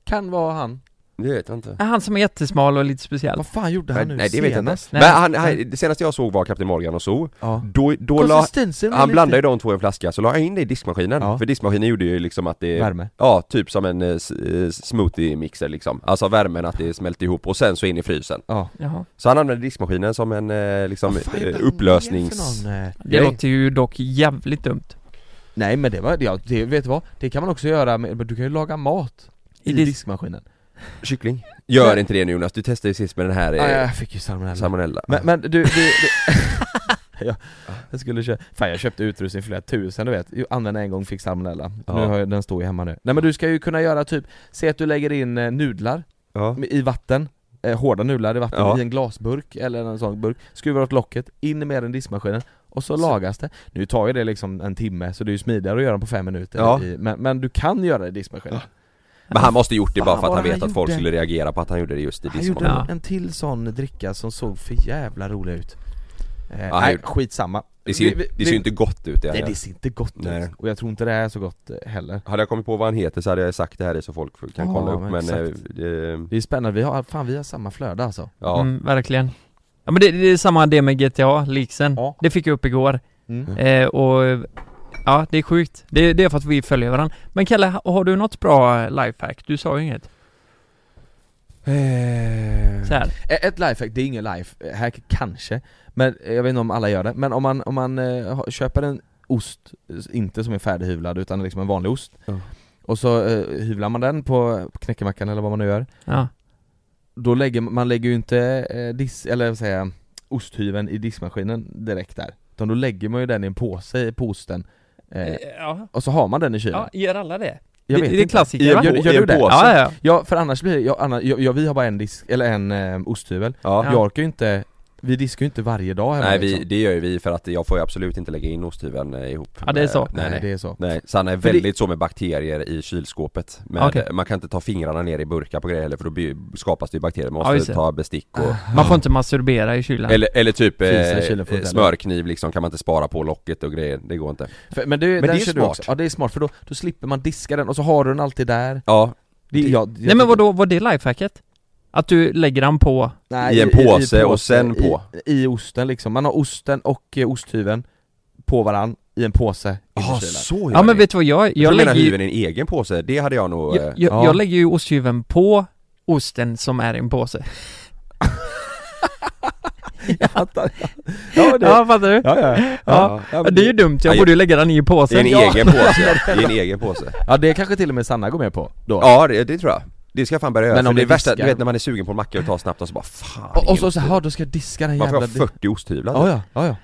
[SPEAKER 3] Kan vara han
[SPEAKER 2] Det vet jag inte
[SPEAKER 1] Ja, Han som är jättesmal och lite speciell.
[SPEAKER 3] Vad fan gjorde
[SPEAKER 2] Nej,
[SPEAKER 3] han nu
[SPEAKER 2] nej det vet jag inte
[SPEAKER 3] senast?
[SPEAKER 2] Men han, han, det senaste jag såg var Kapten Morgan och zoo
[SPEAKER 3] Ja.
[SPEAKER 2] Då, då la,
[SPEAKER 3] Konsistensen var
[SPEAKER 2] han
[SPEAKER 3] lite-
[SPEAKER 2] blandade ju de två i en flaska, så la han in det i diskmaskinen
[SPEAKER 3] Ja.
[SPEAKER 2] För diskmaskinen gjorde ju liksom att det
[SPEAKER 3] Värme
[SPEAKER 2] Ja, typ som en eh, s- eh, smoothie-mixer liksom Alltså värmen att det smälter ihop och sen så in i frysen
[SPEAKER 3] Ja
[SPEAKER 1] Jaha.
[SPEAKER 2] Så han använde diskmaskinen som en eh, liksom
[SPEAKER 3] Vad fan
[SPEAKER 2] eh,
[SPEAKER 3] gjorde han
[SPEAKER 2] upplösnings...
[SPEAKER 3] för någon, eh,
[SPEAKER 1] Det
[SPEAKER 3] grej?
[SPEAKER 1] låter ju dock jävligt dumt.
[SPEAKER 3] Nej men det var, ja, det, vet du vad? Det kan man också göra med, men du kan ju laga mat
[SPEAKER 1] I
[SPEAKER 3] i,
[SPEAKER 1] dis-
[SPEAKER 3] diskmaskinen
[SPEAKER 2] Kyckling Gör inte det nu Jonas, du testade ju sist med den här
[SPEAKER 3] Ja,
[SPEAKER 2] eh,
[SPEAKER 3] jag fick ju salmonella
[SPEAKER 2] salmonella
[SPEAKER 3] Men, men du, du, du ja, jag skulle köpa, fan jag köpte utrustning för flera tusen du vet, Jag använde en gång, fick salmonella
[SPEAKER 2] Ja.
[SPEAKER 3] Nu har jag, den står ju hemma nu Nej men du ska ju kunna göra typ, se att du lägger in eh, nudlar
[SPEAKER 2] Ja.
[SPEAKER 3] i vatten eh, Hårda nudlar i vatten
[SPEAKER 2] Ja.
[SPEAKER 3] i en glasburk eller en sån burk Skruvar åt locket, in med den i diskmaskinen och så, lagas det Nu tar ju det liksom en timme så det är ju smidigare att göra den på fem minuter
[SPEAKER 2] Ja.
[SPEAKER 3] i, men, men du kan göra det i diskmaskinen
[SPEAKER 2] Men han måste gjort det bara för att
[SPEAKER 3] Vad
[SPEAKER 2] han vet
[SPEAKER 3] han
[SPEAKER 2] att folk
[SPEAKER 3] gjorde.
[SPEAKER 2] skulle reagera på att han gjorde det just i
[SPEAKER 3] Han gjorde
[SPEAKER 2] diskmaskinen
[SPEAKER 1] Ja.
[SPEAKER 3] en, en till sån dricka som såg för jävla rolig ut eh,
[SPEAKER 2] han
[SPEAKER 3] Nej
[SPEAKER 2] gjorde-
[SPEAKER 3] skitsamma
[SPEAKER 2] Det ser ju
[SPEAKER 3] Vi- vi-
[SPEAKER 2] det ser ju
[SPEAKER 3] vi-
[SPEAKER 2] inte gott ut det
[SPEAKER 3] Nej
[SPEAKER 2] här.
[SPEAKER 3] det ser inte gott
[SPEAKER 2] Nej.
[SPEAKER 3] ut, och jag tror inte det är så gott eh, heller
[SPEAKER 2] Hade jag kommit på vad han heter så hade jag sagt det här så folk kan
[SPEAKER 3] Ja,
[SPEAKER 2] kolla upp
[SPEAKER 3] men
[SPEAKER 2] men... eh,
[SPEAKER 3] exakt.
[SPEAKER 2] det-
[SPEAKER 3] Det är spännande, vi har, fan vi har samma flöde alltså
[SPEAKER 2] Ja,
[SPEAKER 1] Mm, verkligen. Ja men det, det är samma det med GTA, leaksen.
[SPEAKER 3] Ja.
[SPEAKER 1] Det fick jag upp igår.
[SPEAKER 3] Mm.
[SPEAKER 1] Eh, och ja, det är sjukt. Det, det är för att vi följer varandra. Men Kalle, ha- har du något bra lifehack? Du sa ju inget. Så här.
[SPEAKER 3] E- Ett lifehack, det är ingen lifehack kanske, men eh, jag vet inte om alla gör det, men om man, om man eh, ha- köper en ost, eh, inte som är färdighyvlad utan liksom en vanlig ost
[SPEAKER 2] Ja.
[SPEAKER 3] Och så eh, hyvlar man den på knäckemackan eller vad man nu gör
[SPEAKER 1] Ja.
[SPEAKER 3] Då lägger man- man lägger ju inte eh, dis, eller vad säger jag, osthyveln i diskmaskinen direkt där Utan då lägger man ju den i en påse på osten eh,
[SPEAKER 1] ja.
[SPEAKER 3] Och så har man den i kylen
[SPEAKER 1] ja, gör alla det?
[SPEAKER 3] Jag
[SPEAKER 1] det,
[SPEAKER 3] vet
[SPEAKER 1] det är
[SPEAKER 3] inte.
[SPEAKER 1] klassiker va?
[SPEAKER 3] gör, gör du det?
[SPEAKER 2] påse.
[SPEAKER 1] Ja, ja,
[SPEAKER 3] Ja för annars blir det, jag, anna- jag, jag, vi har bara en disk, eller en eh, osthyvel
[SPEAKER 2] ja.
[SPEAKER 3] Jag orkar ju inte Vi diskar ju inte varje dag hemma
[SPEAKER 2] Nej vi,
[SPEAKER 3] liksom.
[SPEAKER 2] det gör ju vi för att jag får ju absolut inte lägga in osthyveln eh, ihop
[SPEAKER 1] Ja, det är så.
[SPEAKER 2] med- Nej nej,
[SPEAKER 3] det är så
[SPEAKER 2] nej. Sanna är
[SPEAKER 1] För det-
[SPEAKER 2] väldigt så med bakterier i kylskåpet med,
[SPEAKER 1] Okej.
[SPEAKER 2] Man kan inte ta fingrarna ner i burkar på grejer heller för då by- skapas det ju bakterier, man
[SPEAKER 1] Ja, just
[SPEAKER 2] måste
[SPEAKER 1] det. Ah,
[SPEAKER 2] ta bestick och
[SPEAKER 1] Man får inte masturbera i kylan
[SPEAKER 2] Eller, eller typ
[SPEAKER 3] Frysa i kylen
[SPEAKER 2] eh,
[SPEAKER 3] får inte
[SPEAKER 2] smörkniv liksom, kan man inte spara på locket och grejer, det går inte
[SPEAKER 3] För, men det,
[SPEAKER 2] Men
[SPEAKER 3] den
[SPEAKER 2] det är
[SPEAKER 3] kör du
[SPEAKER 2] smart.
[SPEAKER 3] också. Ja det är smart för då, då slipper man diska den och så har du den alltid där
[SPEAKER 2] Ja,
[SPEAKER 3] det, jag, jag
[SPEAKER 1] Nej men
[SPEAKER 3] tycker-
[SPEAKER 1] vadå, var det lifehacket? Att du lägger den på...
[SPEAKER 3] Nej,
[SPEAKER 2] I en påse och sen på.
[SPEAKER 3] I, I osten liksom, man har osten och eh, osthyveln på varann i en påse
[SPEAKER 2] ah,
[SPEAKER 3] i kylen.
[SPEAKER 2] så
[SPEAKER 1] Ja men vet du vad jag,
[SPEAKER 2] jag,
[SPEAKER 1] jag
[SPEAKER 2] jag menar
[SPEAKER 1] lägger ju...
[SPEAKER 2] hyven i en egen påse, det hade jag nog... eh,
[SPEAKER 1] Jag, jag,
[SPEAKER 3] ja.
[SPEAKER 1] jag lägger ju osthyveln på osten som är i en påse
[SPEAKER 3] Jag fattar. ja, det, ja,
[SPEAKER 1] Ja fattar du?
[SPEAKER 3] ja, ja.
[SPEAKER 1] Ja.
[SPEAKER 3] ja,
[SPEAKER 1] Det är ju dumt, jag
[SPEAKER 2] Ja,
[SPEAKER 1] borde ju lägga den i
[SPEAKER 2] I en
[SPEAKER 1] påsen Ja.
[SPEAKER 2] egen påse, i en egen påse
[SPEAKER 3] ja det kanske till och med Sanna går med på då
[SPEAKER 2] Ja det, det tror jag Det ska jag fan börja göra,
[SPEAKER 3] Men
[SPEAKER 2] men
[SPEAKER 3] om
[SPEAKER 2] om det är
[SPEAKER 3] vi
[SPEAKER 2] värsta,
[SPEAKER 3] diskar-
[SPEAKER 2] du vet när man är sugen på en macka och tar snabbt och så bara fan
[SPEAKER 3] Och, och
[SPEAKER 2] ingen
[SPEAKER 3] så såhär, ja, då ska jag diska den
[SPEAKER 2] osthyvel.
[SPEAKER 3] jävla...
[SPEAKER 2] Man får ha 40 osthyvlar
[SPEAKER 3] Ja, ja, ja, ja.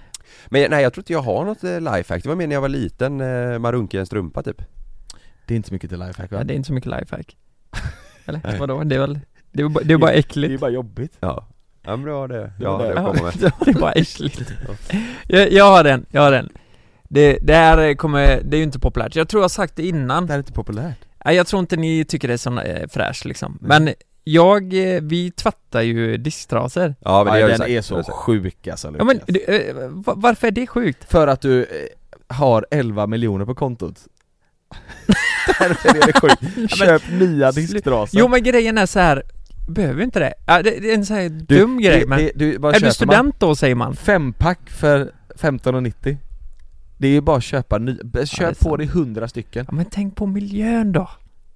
[SPEAKER 2] Men nej jag tror inte jag har något eh, lifehack, det var mer när jag var liten, eh, man runkade i en strumpa typ
[SPEAKER 3] Det är inte så mycket till lifehack va?
[SPEAKER 1] Ja, det är inte så mycket lifehack Eller vadå, det är väl... Det är bara, det är bara
[SPEAKER 3] Det
[SPEAKER 1] äckligt
[SPEAKER 3] bara jobbigt
[SPEAKER 2] Ja Ja men det var det,
[SPEAKER 3] var
[SPEAKER 2] ja
[SPEAKER 3] det.
[SPEAKER 2] det kommer med
[SPEAKER 1] Det är bara äckligt jag, jag har en, jag har en det, det här kommer, det är ju inte populärt, jag tror jag har sagt det innan
[SPEAKER 3] Det här är inte populärt
[SPEAKER 1] Nej jag tror inte ni tycker det är så eh, fräscht liksom Men jag, eh, vi tvättar ju disktrasor
[SPEAKER 2] Ja men det har jag ju
[SPEAKER 3] den
[SPEAKER 2] sagt,
[SPEAKER 3] är
[SPEAKER 2] det har
[SPEAKER 3] så
[SPEAKER 2] jag sagt.
[SPEAKER 3] sjuk alltså
[SPEAKER 1] Ja
[SPEAKER 3] Lukas.
[SPEAKER 1] men, du, eh, va- varför är det sjukt?
[SPEAKER 3] För att du eh, har 11 miljoner på kontot Därför är det sjukt, köp nya disktrasor
[SPEAKER 1] Jo men grejen är så här behöver inte det. Ja, det, det är en så här
[SPEAKER 3] Du,
[SPEAKER 1] dum grej
[SPEAKER 3] det-
[SPEAKER 1] men...
[SPEAKER 3] det- du, vad
[SPEAKER 1] är du
[SPEAKER 3] köper
[SPEAKER 1] student då säger man?
[SPEAKER 3] Man? Fempack för 15,90 Det är ju bara att köpa ny, b-
[SPEAKER 1] det är
[SPEAKER 3] köp på
[SPEAKER 1] sant.
[SPEAKER 3] dig 100 stycken
[SPEAKER 1] Ja men tänk på miljön då.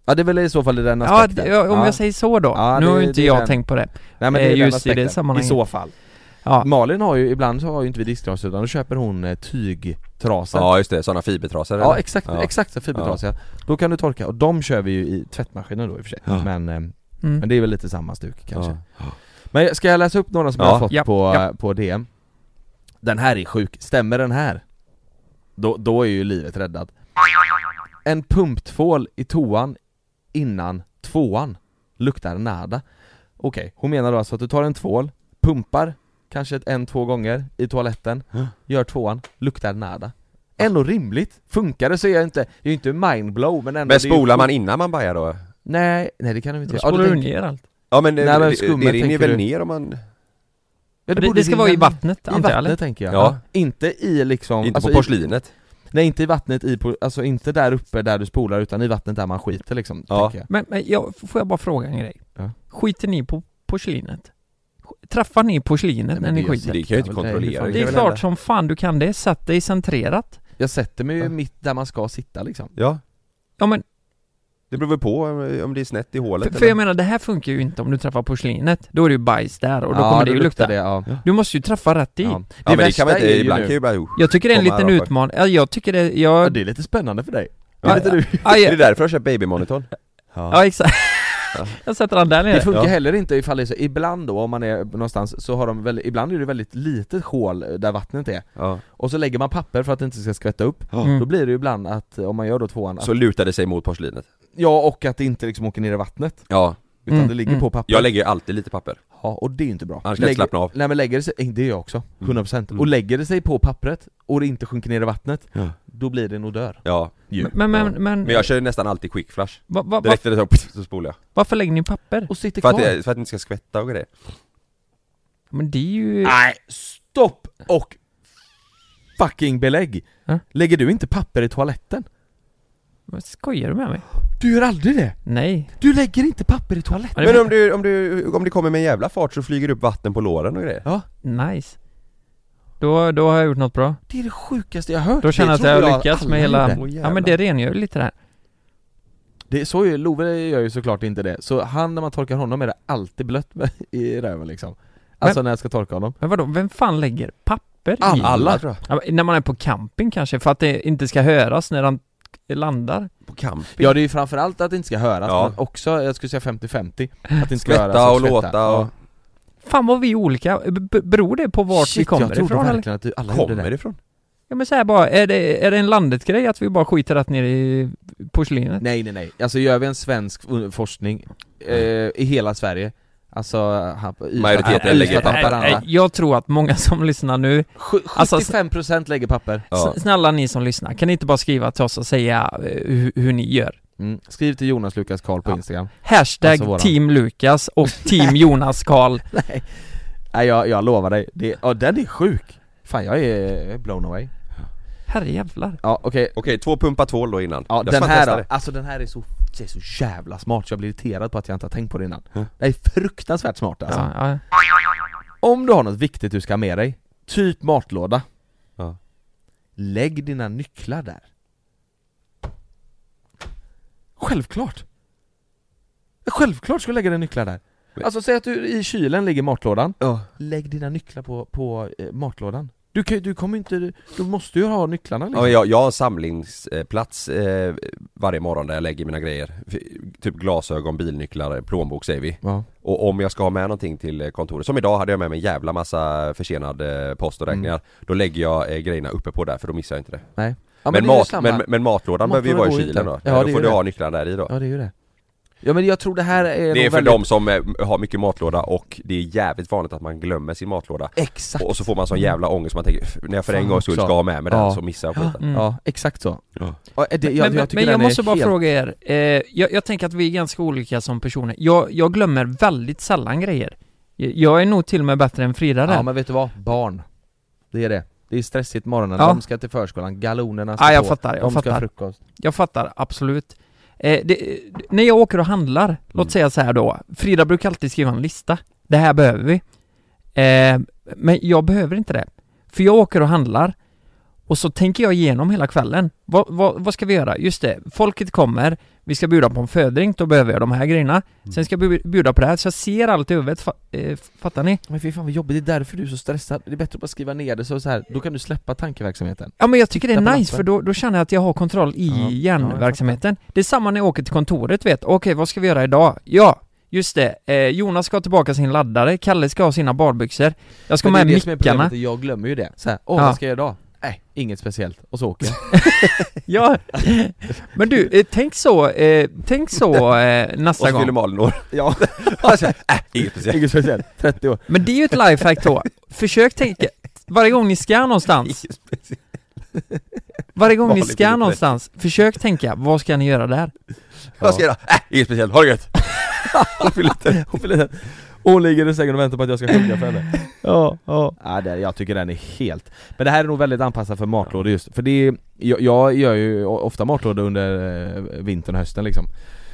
[SPEAKER 3] Ja det är väl i så fall i den
[SPEAKER 1] Ja,
[SPEAKER 3] aspekten
[SPEAKER 1] d- ja, om jag säger så då.
[SPEAKER 3] Ja,
[SPEAKER 1] nu
[SPEAKER 3] det-
[SPEAKER 1] har ju
[SPEAKER 3] det
[SPEAKER 1] inte
[SPEAKER 3] är
[SPEAKER 1] jag
[SPEAKER 3] den.
[SPEAKER 1] tänkt på det.
[SPEAKER 3] Nej,
[SPEAKER 1] eh,
[SPEAKER 3] är den
[SPEAKER 1] just i det
[SPEAKER 3] aspekten.
[SPEAKER 1] sammanhanget.
[SPEAKER 3] I så fall
[SPEAKER 1] Ja.
[SPEAKER 3] Malin har ju, ibland så har ju inte vi disktrasor utan då köper hon eh, tygtrasor
[SPEAKER 2] Ja just det, sådana fibertrasor
[SPEAKER 3] Ja
[SPEAKER 2] eller?
[SPEAKER 3] exakt,
[SPEAKER 2] Ja.
[SPEAKER 3] exakt så fibertrasiga. Då kan du torka, och de kör vi ju i tvättmaskinen då i och för sig.
[SPEAKER 2] Ja.
[SPEAKER 3] Men, ehm,
[SPEAKER 1] Mm.
[SPEAKER 3] men det är väl lite samma stuk kanske.
[SPEAKER 2] Ja.
[SPEAKER 3] Men ska jag läsa upp några som
[SPEAKER 2] Ja.
[SPEAKER 3] jag har fått
[SPEAKER 1] Ja,
[SPEAKER 3] på,
[SPEAKER 1] ja.
[SPEAKER 3] på DM? Den här är sjuk, stämmer den här? Då, då är ju livet räddat. En pumptvål i toan innan tvåan luktar nada. Okej, hon menar då alltså att du tar en tvål, pumpar kanske ett, en, två gånger i toaletten, gör tvåan, luktar nada. Ändå rimligt, funkar det så är jag inte, det är ju inte mindblow men ändå
[SPEAKER 2] Men
[SPEAKER 3] det är ju-
[SPEAKER 2] spolar man innan man bajar då?
[SPEAKER 3] Nej, nej det kan du inte
[SPEAKER 1] Då
[SPEAKER 3] göra. Ja,
[SPEAKER 1] spolar
[SPEAKER 3] du
[SPEAKER 1] du
[SPEAKER 3] tänker-
[SPEAKER 1] ner allt.
[SPEAKER 2] Ja men,
[SPEAKER 3] Nej,
[SPEAKER 2] Nej,
[SPEAKER 3] men
[SPEAKER 2] men
[SPEAKER 3] skummet
[SPEAKER 2] det rinner
[SPEAKER 3] tänker
[SPEAKER 2] väl
[SPEAKER 3] du?
[SPEAKER 2] ner om man...
[SPEAKER 3] Ja,
[SPEAKER 1] Det, det ska
[SPEAKER 3] rinna
[SPEAKER 1] vara i
[SPEAKER 3] ner.
[SPEAKER 1] vattnet
[SPEAKER 3] I
[SPEAKER 1] antar jag eller?
[SPEAKER 3] vattnet tänker jag.
[SPEAKER 2] Ja.
[SPEAKER 3] Inte i liksom...
[SPEAKER 2] Inte på
[SPEAKER 3] i-
[SPEAKER 2] porslinet?
[SPEAKER 3] Nej inte i vattnet, i, po- alltså inte där uppe där du spolar utan i vattnet där man skiter liksom,
[SPEAKER 2] Ja.
[SPEAKER 3] tänker jag.
[SPEAKER 1] Men, men jag, får jag bara fråga en grej?
[SPEAKER 3] Ja.
[SPEAKER 1] Skiter ni på porslinet? Sk- Träffar ni porslinet
[SPEAKER 3] men
[SPEAKER 1] när ni
[SPEAKER 3] det gör-
[SPEAKER 1] skiter?
[SPEAKER 2] Det kan jag
[SPEAKER 3] Ja,
[SPEAKER 2] inte
[SPEAKER 3] men det är ju
[SPEAKER 2] kontrollera
[SPEAKER 3] fan-
[SPEAKER 1] Det
[SPEAKER 2] kan
[SPEAKER 1] är
[SPEAKER 2] väl
[SPEAKER 1] klart
[SPEAKER 2] hända.
[SPEAKER 1] som fan du kan det, sätt dig centrerat.
[SPEAKER 3] Jag sätter mig ju
[SPEAKER 2] Ja.
[SPEAKER 3] mitt där man ska sitta liksom.
[SPEAKER 2] Ja,
[SPEAKER 1] Ja men,
[SPEAKER 2] det beror väl på om- om det är snett i hålet
[SPEAKER 1] för, för jag
[SPEAKER 2] eller?
[SPEAKER 1] menar det här funkar ju inte om du träffar porslinet. Då är det ju bajs där och då
[SPEAKER 3] Ja,
[SPEAKER 1] kommer det ju
[SPEAKER 3] luktar
[SPEAKER 1] lukta.
[SPEAKER 3] Det, ja.
[SPEAKER 1] Du måste ju träffa rätt i.
[SPEAKER 3] Ja.
[SPEAKER 2] Ja men det kan man
[SPEAKER 3] värsta
[SPEAKER 2] inte,
[SPEAKER 3] är ju
[SPEAKER 2] ibland
[SPEAKER 3] nu-
[SPEAKER 2] kan ju bara...
[SPEAKER 1] Jag tycker det är en
[SPEAKER 2] Komma
[SPEAKER 1] liten
[SPEAKER 2] här uppe.
[SPEAKER 1] utmaning, ja, jag tycker det, jag...
[SPEAKER 3] ja, det är lite spännande för dig. Det
[SPEAKER 1] Ja,
[SPEAKER 3] är lite du.
[SPEAKER 1] ja,
[SPEAKER 2] Det
[SPEAKER 1] ja,
[SPEAKER 2] är därför jag har köpt babymonitorn
[SPEAKER 1] ja exakt
[SPEAKER 2] Ja.
[SPEAKER 1] Jag sätter den där
[SPEAKER 3] Det
[SPEAKER 1] nere
[SPEAKER 3] funkar
[SPEAKER 2] Ja.
[SPEAKER 3] heller inte ifall det är så, ibland då om man är någonstans så har de väl, ibland är det väldigt litet hål där vattnet är
[SPEAKER 2] ja.
[SPEAKER 3] och så lägger man papper för att det inte ska skvätta upp Då
[SPEAKER 1] mm.
[SPEAKER 3] blir det ju ibland att, om man gör då tvåan, att,
[SPEAKER 2] Så lutar det sig mot porslinet
[SPEAKER 3] ja och att det inte liksom åker ner i vattnet
[SPEAKER 2] Ja,
[SPEAKER 3] Utan
[SPEAKER 1] Mm,
[SPEAKER 3] det ligger
[SPEAKER 1] mm.
[SPEAKER 3] på papper
[SPEAKER 2] jag lägger ju alltid lite papper
[SPEAKER 3] Ja, och det är ju inte bra.
[SPEAKER 2] Annars kan jag
[SPEAKER 3] Lägger-
[SPEAKER 2] slappna av.
[SPEAKER 3] Nej men lägger det sig, eh, det är jag också, 100%
[SPEAKER 2] Mm.
[SPEAKER 3] Och lägger det sig på pappret och det inte sjunker ner i vattnet,
[SPEAKER 2] Ja.
[SPEAKER 3] då blir det nog dör
[SPEAKER 2] Ja,
[SPEAKER 1] Men, men, men,
[SPEAKER 2] men jag kör ju nästan alltid quick flash
[SPEAKER 1] va, va, va,
[SPEAKER 2] Direkt när det så, så spolar jag
[SPEAKER 1] varför lägger ni papper?
[SPEAKER 3] Och sitter
[SPEAKER 2] för
[SPEAKER 3] kvar
[SPEAKER 2] att, det, för att det inte ska skvätta och grejer
[SPEAKER 1] Men det är ju...
[SPEAKER 3] Nej, stopp och fucking belägg!
[SPEAKER 1] Ja.
[SPEAKER 3] Lägger du inte papper i toaletten? Ah.
[SPEAKER 1] Vad skojar du med mig?
[SPEAKER 3] Du gör aldrig det!
[SPEAKER 1] Nej
[SPEAKER 3] Du lägger inte papper i toaletten!
[SPEAKER 1] Ja, det
[SPEAKER 2] Men om du, om du, om det kommer med en jävla fart så flyger det upp vatten på låren och grejer
[SPEAKER 1] Nice då, då har jag gjort något bra
[SPEAKER 3] Det är det sjukaste jag har hört!
[SPEAKER 1] Då känner jag att
[SPEAKER 3] Det
[SPEAKER 1] jag
[SPEAKER 3] tror
[SPEAKER 1] har lyckats
[SPEAKER 3] alla
[SPEAKER 1] med hela...
[SPEAKER 3] gjorde.
[SPEAKER 1] Ja men det rengör ju lite det här
[SPEAKER 3] Det är så ju, Love gör ju såklart inte det, så han när man torkar honom är det alltid blött med- i röven liksom Alltså när jag ska torka honom
[SPEAKER 1] Men vadå, vem fan lägger papper i?
[SPEAKER 3] Alla.
[SPEAKER 2] tror jag
[SPEAKER 1] Ja, men när man är på camping kanske, för att det inte ska höras när han landar
[SPEAKER 2] På kamp
[SPEAKER 3] Ja det är ju framförallt att det inte ska höras
[SPEAKER 2] Ja.
[SPEAKER 3] men också, jag skulle säga 50-50 Att det inte ska höras
[SPEAKER 2] Skvätta och
[SPEAKER 3] skvätta.
[SPEAKER 2] låta och...
[SPEAKER 1] Fan vad vi är olika, B- beror det på vart vi
[SPEAKER 3] Shit, jag
[SPEAKER 1] kommer
[SPEAKER 3] trodde
[SPEAKER 1] ifrån eller?
[SPEAKER 3] verkligen att du, alla gjorde
[SPEAKER 2] Kommer
[SPEAKER 3] det
[SPEAKER 2] det ifrån?
[SPEAKER 1] Ja men såhär bara, är det, är det en landet-grej att vi bara skiter rätt ner i porslinet?
[SPEAKER 3] Nej nej nej, alltså gör vi en svensk eh, forskning eh, i hela Sverige Alltså, han, Ystad-
[SPEAKER 2] Majoriteten
[SPEAKER 3] Ystad-
[SPEAKER 2] lägger papper.
[SPEAKER 3] Haparanda.
[SPEAKER 1] Nej, nej, Jag tror att många som lyssnar nu,
[SPEAKER 3] Sju-
[SPEAKER 1] Alltså,
[SPEAKER 3] 75% lägger papper.
[SPEAKER 2] Ja.
[SPEAKER 1] s- snälla ni som lyssnar, kan ni inte bara skriva till oss och säga eh, hur, hur ni gör?
[SPEAKER 3] Mm. Skriv till Jonas Lukas Karl på
[SPEAKER 1] Ja.
[SPEAKER 3] Instagram.
[SPEAKER 1] Hashtag
[SPEAKER 3] Alltså, våran.
[SPEAKER 1] team Lukas och team Jonas Karl
[SPEAKER 3] Nej, Nej jag, jag lovar dig, det, ja, den är sjuk! Fan jag är blown away
[SPEAKER 1] Herrejävlar
[SPEAKER 3] Ja okej,
[SPEAKER 2] Okej, två pumpa tvål då innan.
[SPEAKER 3] ja,
[SPEAKER 2] Jag
[SPEAKER 3] den
[SPEAKER 2] ska
[SPEAKER 3] här
[SPEAKER 2] testa
[SPEAKER 3] då,
[SPEAKER 2] det.
[SPEAKER 3] alltså den här är så, det är så jävla smart så jag blir irriterad på att jag inte har tänkt på det innan Det är fruktansvärt smart alltså.
[SPEAKER 1] ja, ja.
[SPEAKER 3] Om du har något viktigt du ska ha med dig, typ matlåda
[SPEAKER 2] Ja.
[SPEAKER 3] Lägg dina nycklar där Självklart! Självklart ska du lägga dina nycklar där!
[SPEAKER 2] Men-
[SPEAKER 3] Alltså säg att du i kylen ligger matlådan Lägg dina nycklar på, på eh, matlådan Du kan ju- du kommer inte, du- du måste ju ha nycklarna
[SPEAKER 2] Ja, men
[SPEAKER 3] liksom.
[SPEAKER 2] jag, jag har samlingsplats eh, varje morgon där jag lägger mina grejer. F- Typ glasögon, bilnycklar, plånbok säger vi.
[SPEAKER 3] Ja.
[SPEAKER 2] Och om jag ska ha med någonting till eh, kontoret, som idag hade jag med mig en jävla massa försenad eh, post och räkningar. Då lägger jag eh, grejerna uppe på där för då missar jag inte det.
[SPEAKER 3] Nej. Mm. Ja,
[SPEAKER 2] men,
[SPEAKER 3] det är ju
[SPEAKER 2] mat,
[SPEAKER 3] samma.
[SPEAKER 2] men, men matlådan behöver ju
[SPEAKER 3] Matlådan
[SPEAKER 2] vara i
[SPEAKER 3] går ju
[SPEAKER 2] kylen
[SPEAKER 3] inte.
[SPEAKER 2] då.
[SPEAKER 3] Ja, det är
[SPEAKER 2] Ja, då
[SPEAKER 3] ju
[SPEAKER 2] får du
[SPEAKER 3] det.
[SPEAKER 2] ha nycklarna där i då.
[SPEAKER 3] Ja det är ju det Ja men jag tror det här är
[SPEAKER 2] det är
[SPEAKER 3] nog
[SPEAKER 2] för
[SPEAKER 3] väldigt...
[SPEAKER 2] de som eh, har mycket matlåda och det är jävligt vanligt att man glömmer sin matlåda.
[SPEAKER 3] Exakt!
[SPEAKER 2] Och så får man sån jävla ångest, man tänker "F- när jag för en
[SPEAKER 3] Fan
[SPEAKER 2] gångs skull
[SPEAKER 3] också.
[SPEAKER 2] ska ha med mig
[SPEAKER 3] Ja.
[SPEAKER 2] den så missar jag skiten.
[SPEAKER 1] Mm.
[SPEAKER 3] Ja, exakt så
[SPEAKER 2] Ja.
[SPEAKER 3] Ja, det, jag,
[SPEAKER 1] men,
[SPEAKER 3] jag tycker
[SPEAKER 1] men
[SPEAKER 3] den
[SPEAKER 1] jag
[SPEAKER 3] är
[SPEAKER 1] måste bara
[SPEAKER 3] helt...
[SPEAKER 1] fråga er, eh, jag, jag tänker att vi är ganska olika som personer. Jag, jag glömmer väldigt sällan grejer. Jag, jag är nog till och med bättre än Frida där.
[SPEAKER 3] Ja men vet du vad? Barn. Det är det. Det är stressigt morgonen,
[SPEAKER 1] Ja.
[SPEAKER 3] de ska till förskolan, galonerna ska
[SPEAKER 1] Ja, jag
[SPEAKER 3] på,
[SPEAKER 1] fattar, jag
[SPEAKER 3] de ska ha
[SPEAKER 1] fattar.
[SPEAKER 3] frukost.
[SPEAKER 1] Jag fattar, absolut. Eh, det, eh, när jag åker och handlar, låt säga så här då, Frida brukar alltid skriva en lista. Det här behöver vi. Eh, men jag behöver inte det. För jag åker och handlar och så tänker jag igenom hela kvällen. Vad, vad, vad ska vi göra? Just det, folket kommer, vi ska bjuda på en födring, då behöver jag de här grejerna. Sen ska jag bu- bjuda på det här, så jag ser allt i huvudet, fa- eh, fattar ni?
[SPEAKER 3] Men fy fan vad jobbigt, det är därför du är så stressad. Det är bättre att bara skriva ner det så, så här. då kan du släppa tankeverksamheten.
[SPEAKER 1] Ja men jag tycker det
[SPEAKER 3] Tappa
[SPEAKER 1] är nice
[SPEAKER 3] lappen.
[SPEAKER 1] för då, då känner jag att jag har kontroll i
[SPEAKER 3] Ja,
[SPEAKER 1] hjärnverksamheten. det är samma när jag åker till kontoret vet, okej vad ska vi göra idag? Ja, just det, eh, Jonas ska ha tillbaka sin laddare, Kalle ska ha sina badbyxor, jag ska ha
[SPEAKER 3] Men
[SPEAKER 1] med
[SPEAKER 3] det är det som är
[SPEAKER 1] mickarna.
[SPEAKER 3] problemet, jag glömmer ju det. Så här, åh
[SPEAKER 1] Ja.
[SPEAKER 3] vad ska jag göra idag? Nej, inget speciellt. Och så åker jag.
[SPEAKER 1] Ja. men du, eh, tänk så, eh, tänk så eh,
[SPEAKER 2] Och
[SPEAKER 1] nästa
[SPEAKER 2] så fyller
[SPEAKER 1] gång.
[SPEAKER 2] Malin år.
[SPEAKER 3] ja,
[SPEAKER 2] Alltså, äh, inget speciellt.
[SPEAKER 3] inget speciellt. 30 år.
[SPEAKER 1] Men det är ju ett lifehack då. Försök tänka, varje gång ni ska någonstans,
[SPEAKER 2] Inget speciellt.
[SPEAKER 1] varje gång ni
[SPEAKER 2] Vanligt
[SPEAKER 1] ska
[SPEAKER 2] litet.
[SPEAKER 1] någonstans, försök tänka, vad ska ni göra där?
[SPEAKER 2] Vad ska jag göra? Äh, inget speciellt, ha det gött!
[SPEAKER 3] Hon fyller inte- hon fyller inte- Hon ligger i sängen och väntar på att jag ska sjunga för henne.
[SPEAKER 1] Ja, ja.
[SPEAKER 3] Ja, det, jag tycker den är helt... Men det här är nog väldigt anpassat för matlådor just, för det är, jag, jag gör ju o- ofta matlådor under eh, vintern och hösten liksom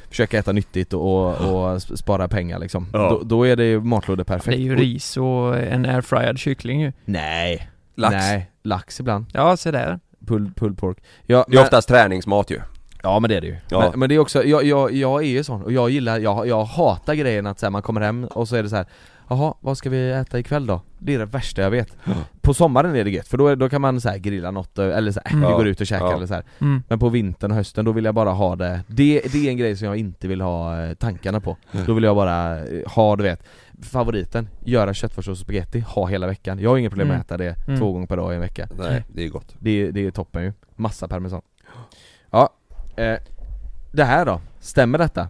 [SPEAKER 3] Försöka äta nyttigt och, och s- spara pengar liksom.
[SPEAKER 2] Ja.
[SPEAKER 3] Då, då är det ju matlådor
[SPEAKER 1] Det är
[SPEAKER 3] perfekt.
[SPEAKER 1] ju
[SPEAKER 3] Och-
[SPEAKER 1] ris och en airfryad kyckling ju.
[SPEAKER 3] Nej,
[SPEAKER 2] Lax.
[SPEAKER 3] nej, lax ibland.
[SPEAKER 1] Ja, se där.
[SPEAKER 3] Pull, pull pork. Ja
[SPEAKER 2] Det är
[SPEAKER 3] men,
[SPEAKER 2] oftast träningsmat ju.
[SPEAKER 3] ja men det är det ju.
[SPEAKER 2] Ja.
[SPEAKER 3] Men, men det är också, jag, jag, jag är ju sån och jag gillar, jag, jag hatar grejen att så här, man kommer hem och så är det så här. Jaha, vad ska vi äta ikväll då? Det är det värsta jag vet. På sommaren är det gött, för då, är- då kan man så här grilla något eh, eller så här,
[SPEAKER 1] Mm.
[SPEAKER 3] vi
[SPEAKER 2] Ja.
[SPEAKER 3] går ut och käkar
[SPEAKER 2] Ja.
[SPEAKER 3] eller så här.
[SPEAKER 1] Mm.
[SPEAKER 3] Men på vintern och hösten, då vill jag bara ha det Det, det är en grej som jag inte vill ha eh, tankarna på Då vill jag bara eh, ha, du vet Favoriten, göra köttfärssås och spaghetti, ha hela veckan Jag har inga problem med
[SPEAKER 1] Mm.
[SPEAKER 3] att äta det
[SPEAKER 1] Mm.
[SPEAKER 3] två gånger per dag i en vecka
[SPEAKER 2] Nej, det är gott.
[SPEAKER 3] Det, det är toppen ju, massa parmesan Ja, eh, det här då? Stämmer detta?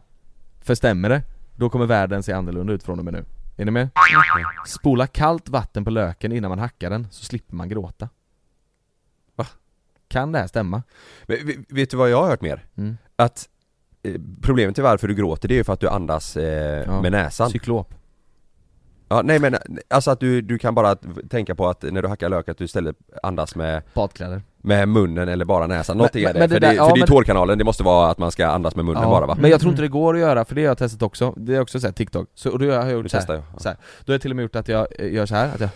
[SPEAKER 3] För stämmer det, då kommer världen se annorlunda ut från och med nu Är ni med? Spola kallt vatten på löken innan man hackar den, så slipper man gråta Va? Kan det här stämma?
[SPEAKER 2] Men, v- vet du vad jag har hört mer?
[SPEAKER 3] Mm.
[SPEAKER 2] Att eh, problemet till varför du gråter det är ju för att du andas eh,
[SPEAKER 3] Ja.
[SPEAKER 2] med näsan.
[SPEAKER 3] Cyklop
[SPEAKER 2] Ja, nej men alltså att du, du kan bara t- tänka på att när du hackar lök att du istället andas med,
[SPEAKER 3] Badkläder
[SPEAKER 2] med munnen eller bara näsan,
[SPEAKER 3] Men-
[SPEAKER 2] något är
[SPEAKER 3] men-
[SPEAKER 2] det.
[SPEAKER 3] men det
[SPEAKER 2] för
[SPEAKER 3] där-
[SPEAKER 2] det,
[SPEAKER 3] ja,
[SPEAKER 2] för det är
[SPEAKER 3] men-
[SPEAKER 2] tårkanalen, det måste vara att man ska andas med munnen bara va?
[SPEAKER 3] Men jag tror inte det går att göra, för det har jag testat också, det är också såhär TikTok, så och då har jag
[SPEAKER 2] Nu
[SPEAKER 3] gjort såhär,
[SPEAKER 2] testar jag.
[SPEAKER 3] så här. då har jag till och med gjort att jag eh, gör så här att jag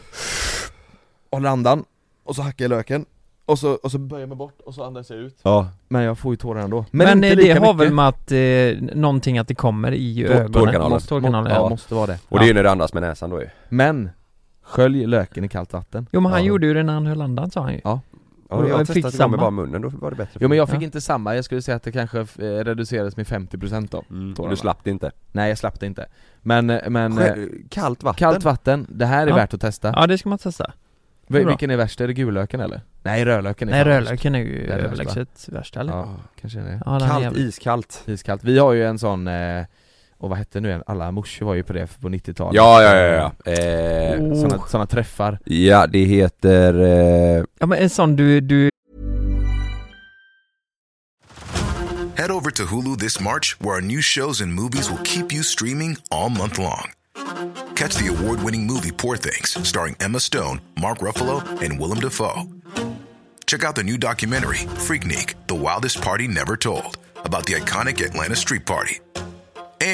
[SPEAKER 3] håller andan, och så hackar jag löken, och så, och så böjer jag mig bort, och så andas jag ut
[SPEAKER 2] Ja,
[SPEAKER 3] Men jag får ju tårar ändå
[SPEAKER 1] Men, eh, det har väl
[SPEAKER 3] mycket.
[SPEAKER 1] med att, eh, någonting att det kommer i
[SPEAKER 2] Tår-
[SPEAKER 1] ögonen?
[SPEAKER 2] tårkanalen.
[SPEAKER 1] Tårkanalen,
[SPEAKER 3] ja.
[SPEAKER 1] ja.
[SPEAKER 3] måste vara det,
[SPEAKER 2] och det är ju när du andas med näsan då ju.
[SPEAKER 3] ja. Men, skölj löken i kallt vatten
[SPEAKER 1] Jo men han
[SPEAKER 2] Ja.
[SPEAKER 1] gjorde ju det när han höll andan sa han ju.
[SPEAKER 2] Ja,
[SPEAKER 1] Och
[SPEAKER 2] jag har
[SPEAKER 1] jag fick
[SPEAKER 2] testat det med
[SPEAKER 1] samma.
[SPEAKER 2] bara munnen, då var det bättre.
[SPEAKER 3] Jo men jag fick
[SPEAKER 1] Ja.
[SPEAKER 3] inte samma, jag skulle säga att det kanske eh, reducerades med 50% då
[SPEAKER 2] mm.
[SPEAKER 3] tårarna.
[SPEAKER 2] Du slapp det inte.
[SPEAKER 3] Nej jag slapp det inte Men, eh, men eh,
[SPEAKER 2] Sjö- Kallt vatten.
[SPEAKER 3] Kallt vatten, det här är
[SPEAKER 1] Ja.
[SPEAKER 3] värt att testa
[SPEAKER 1] Ja det ska man testa.
[SPEAKER 3] Vi-
[SPEAKER 1] Bra.
[SPEAKER 3] Vilken är värst? Är det gullöken eller? Nej rödlöken är
[SPEAKER 1] Nej
[SPEAKER 3] fan värst.
[SPEAKER 1] rödlöken är ju
[SPEAKER 3] Det är det värsta.
[SPEAKER 1] överlägset värst eller?
[SPEAKER 3] Ja, kanske det är det
[SPEAKER 1] Ja, den är
[SPEAKER 2] Kallt,
[SPEAKER 1] jävligt-
[SPEAKER 2] iskallt.
[SPEAKER 3] Iskallt, vi har ju en sån eh, Och vad hette nu igen? Alla morsor var ju på det på 90-talet
[SPEAKER 2] Ja, ja, ja, ja. Eh,
[SPEAKER 1] Oh.
[SPEAKER 3] Såna, såna träffar
[SPEAKER 2] ja det heter... Eh,
[SPEAKER 1] Ja men en sån du, du
[SPEAKER 6] Head over to Hulu this March, where our new shows and movies will keep you streaming all month long. Catch the award winning movie Poor Things, starring Emma Stone, Mark Ruffalo, and Willem Dafoe. Check out the new documentary, Freaknik The Wildest Party Never Told, about the iconic Atlanta Street Party.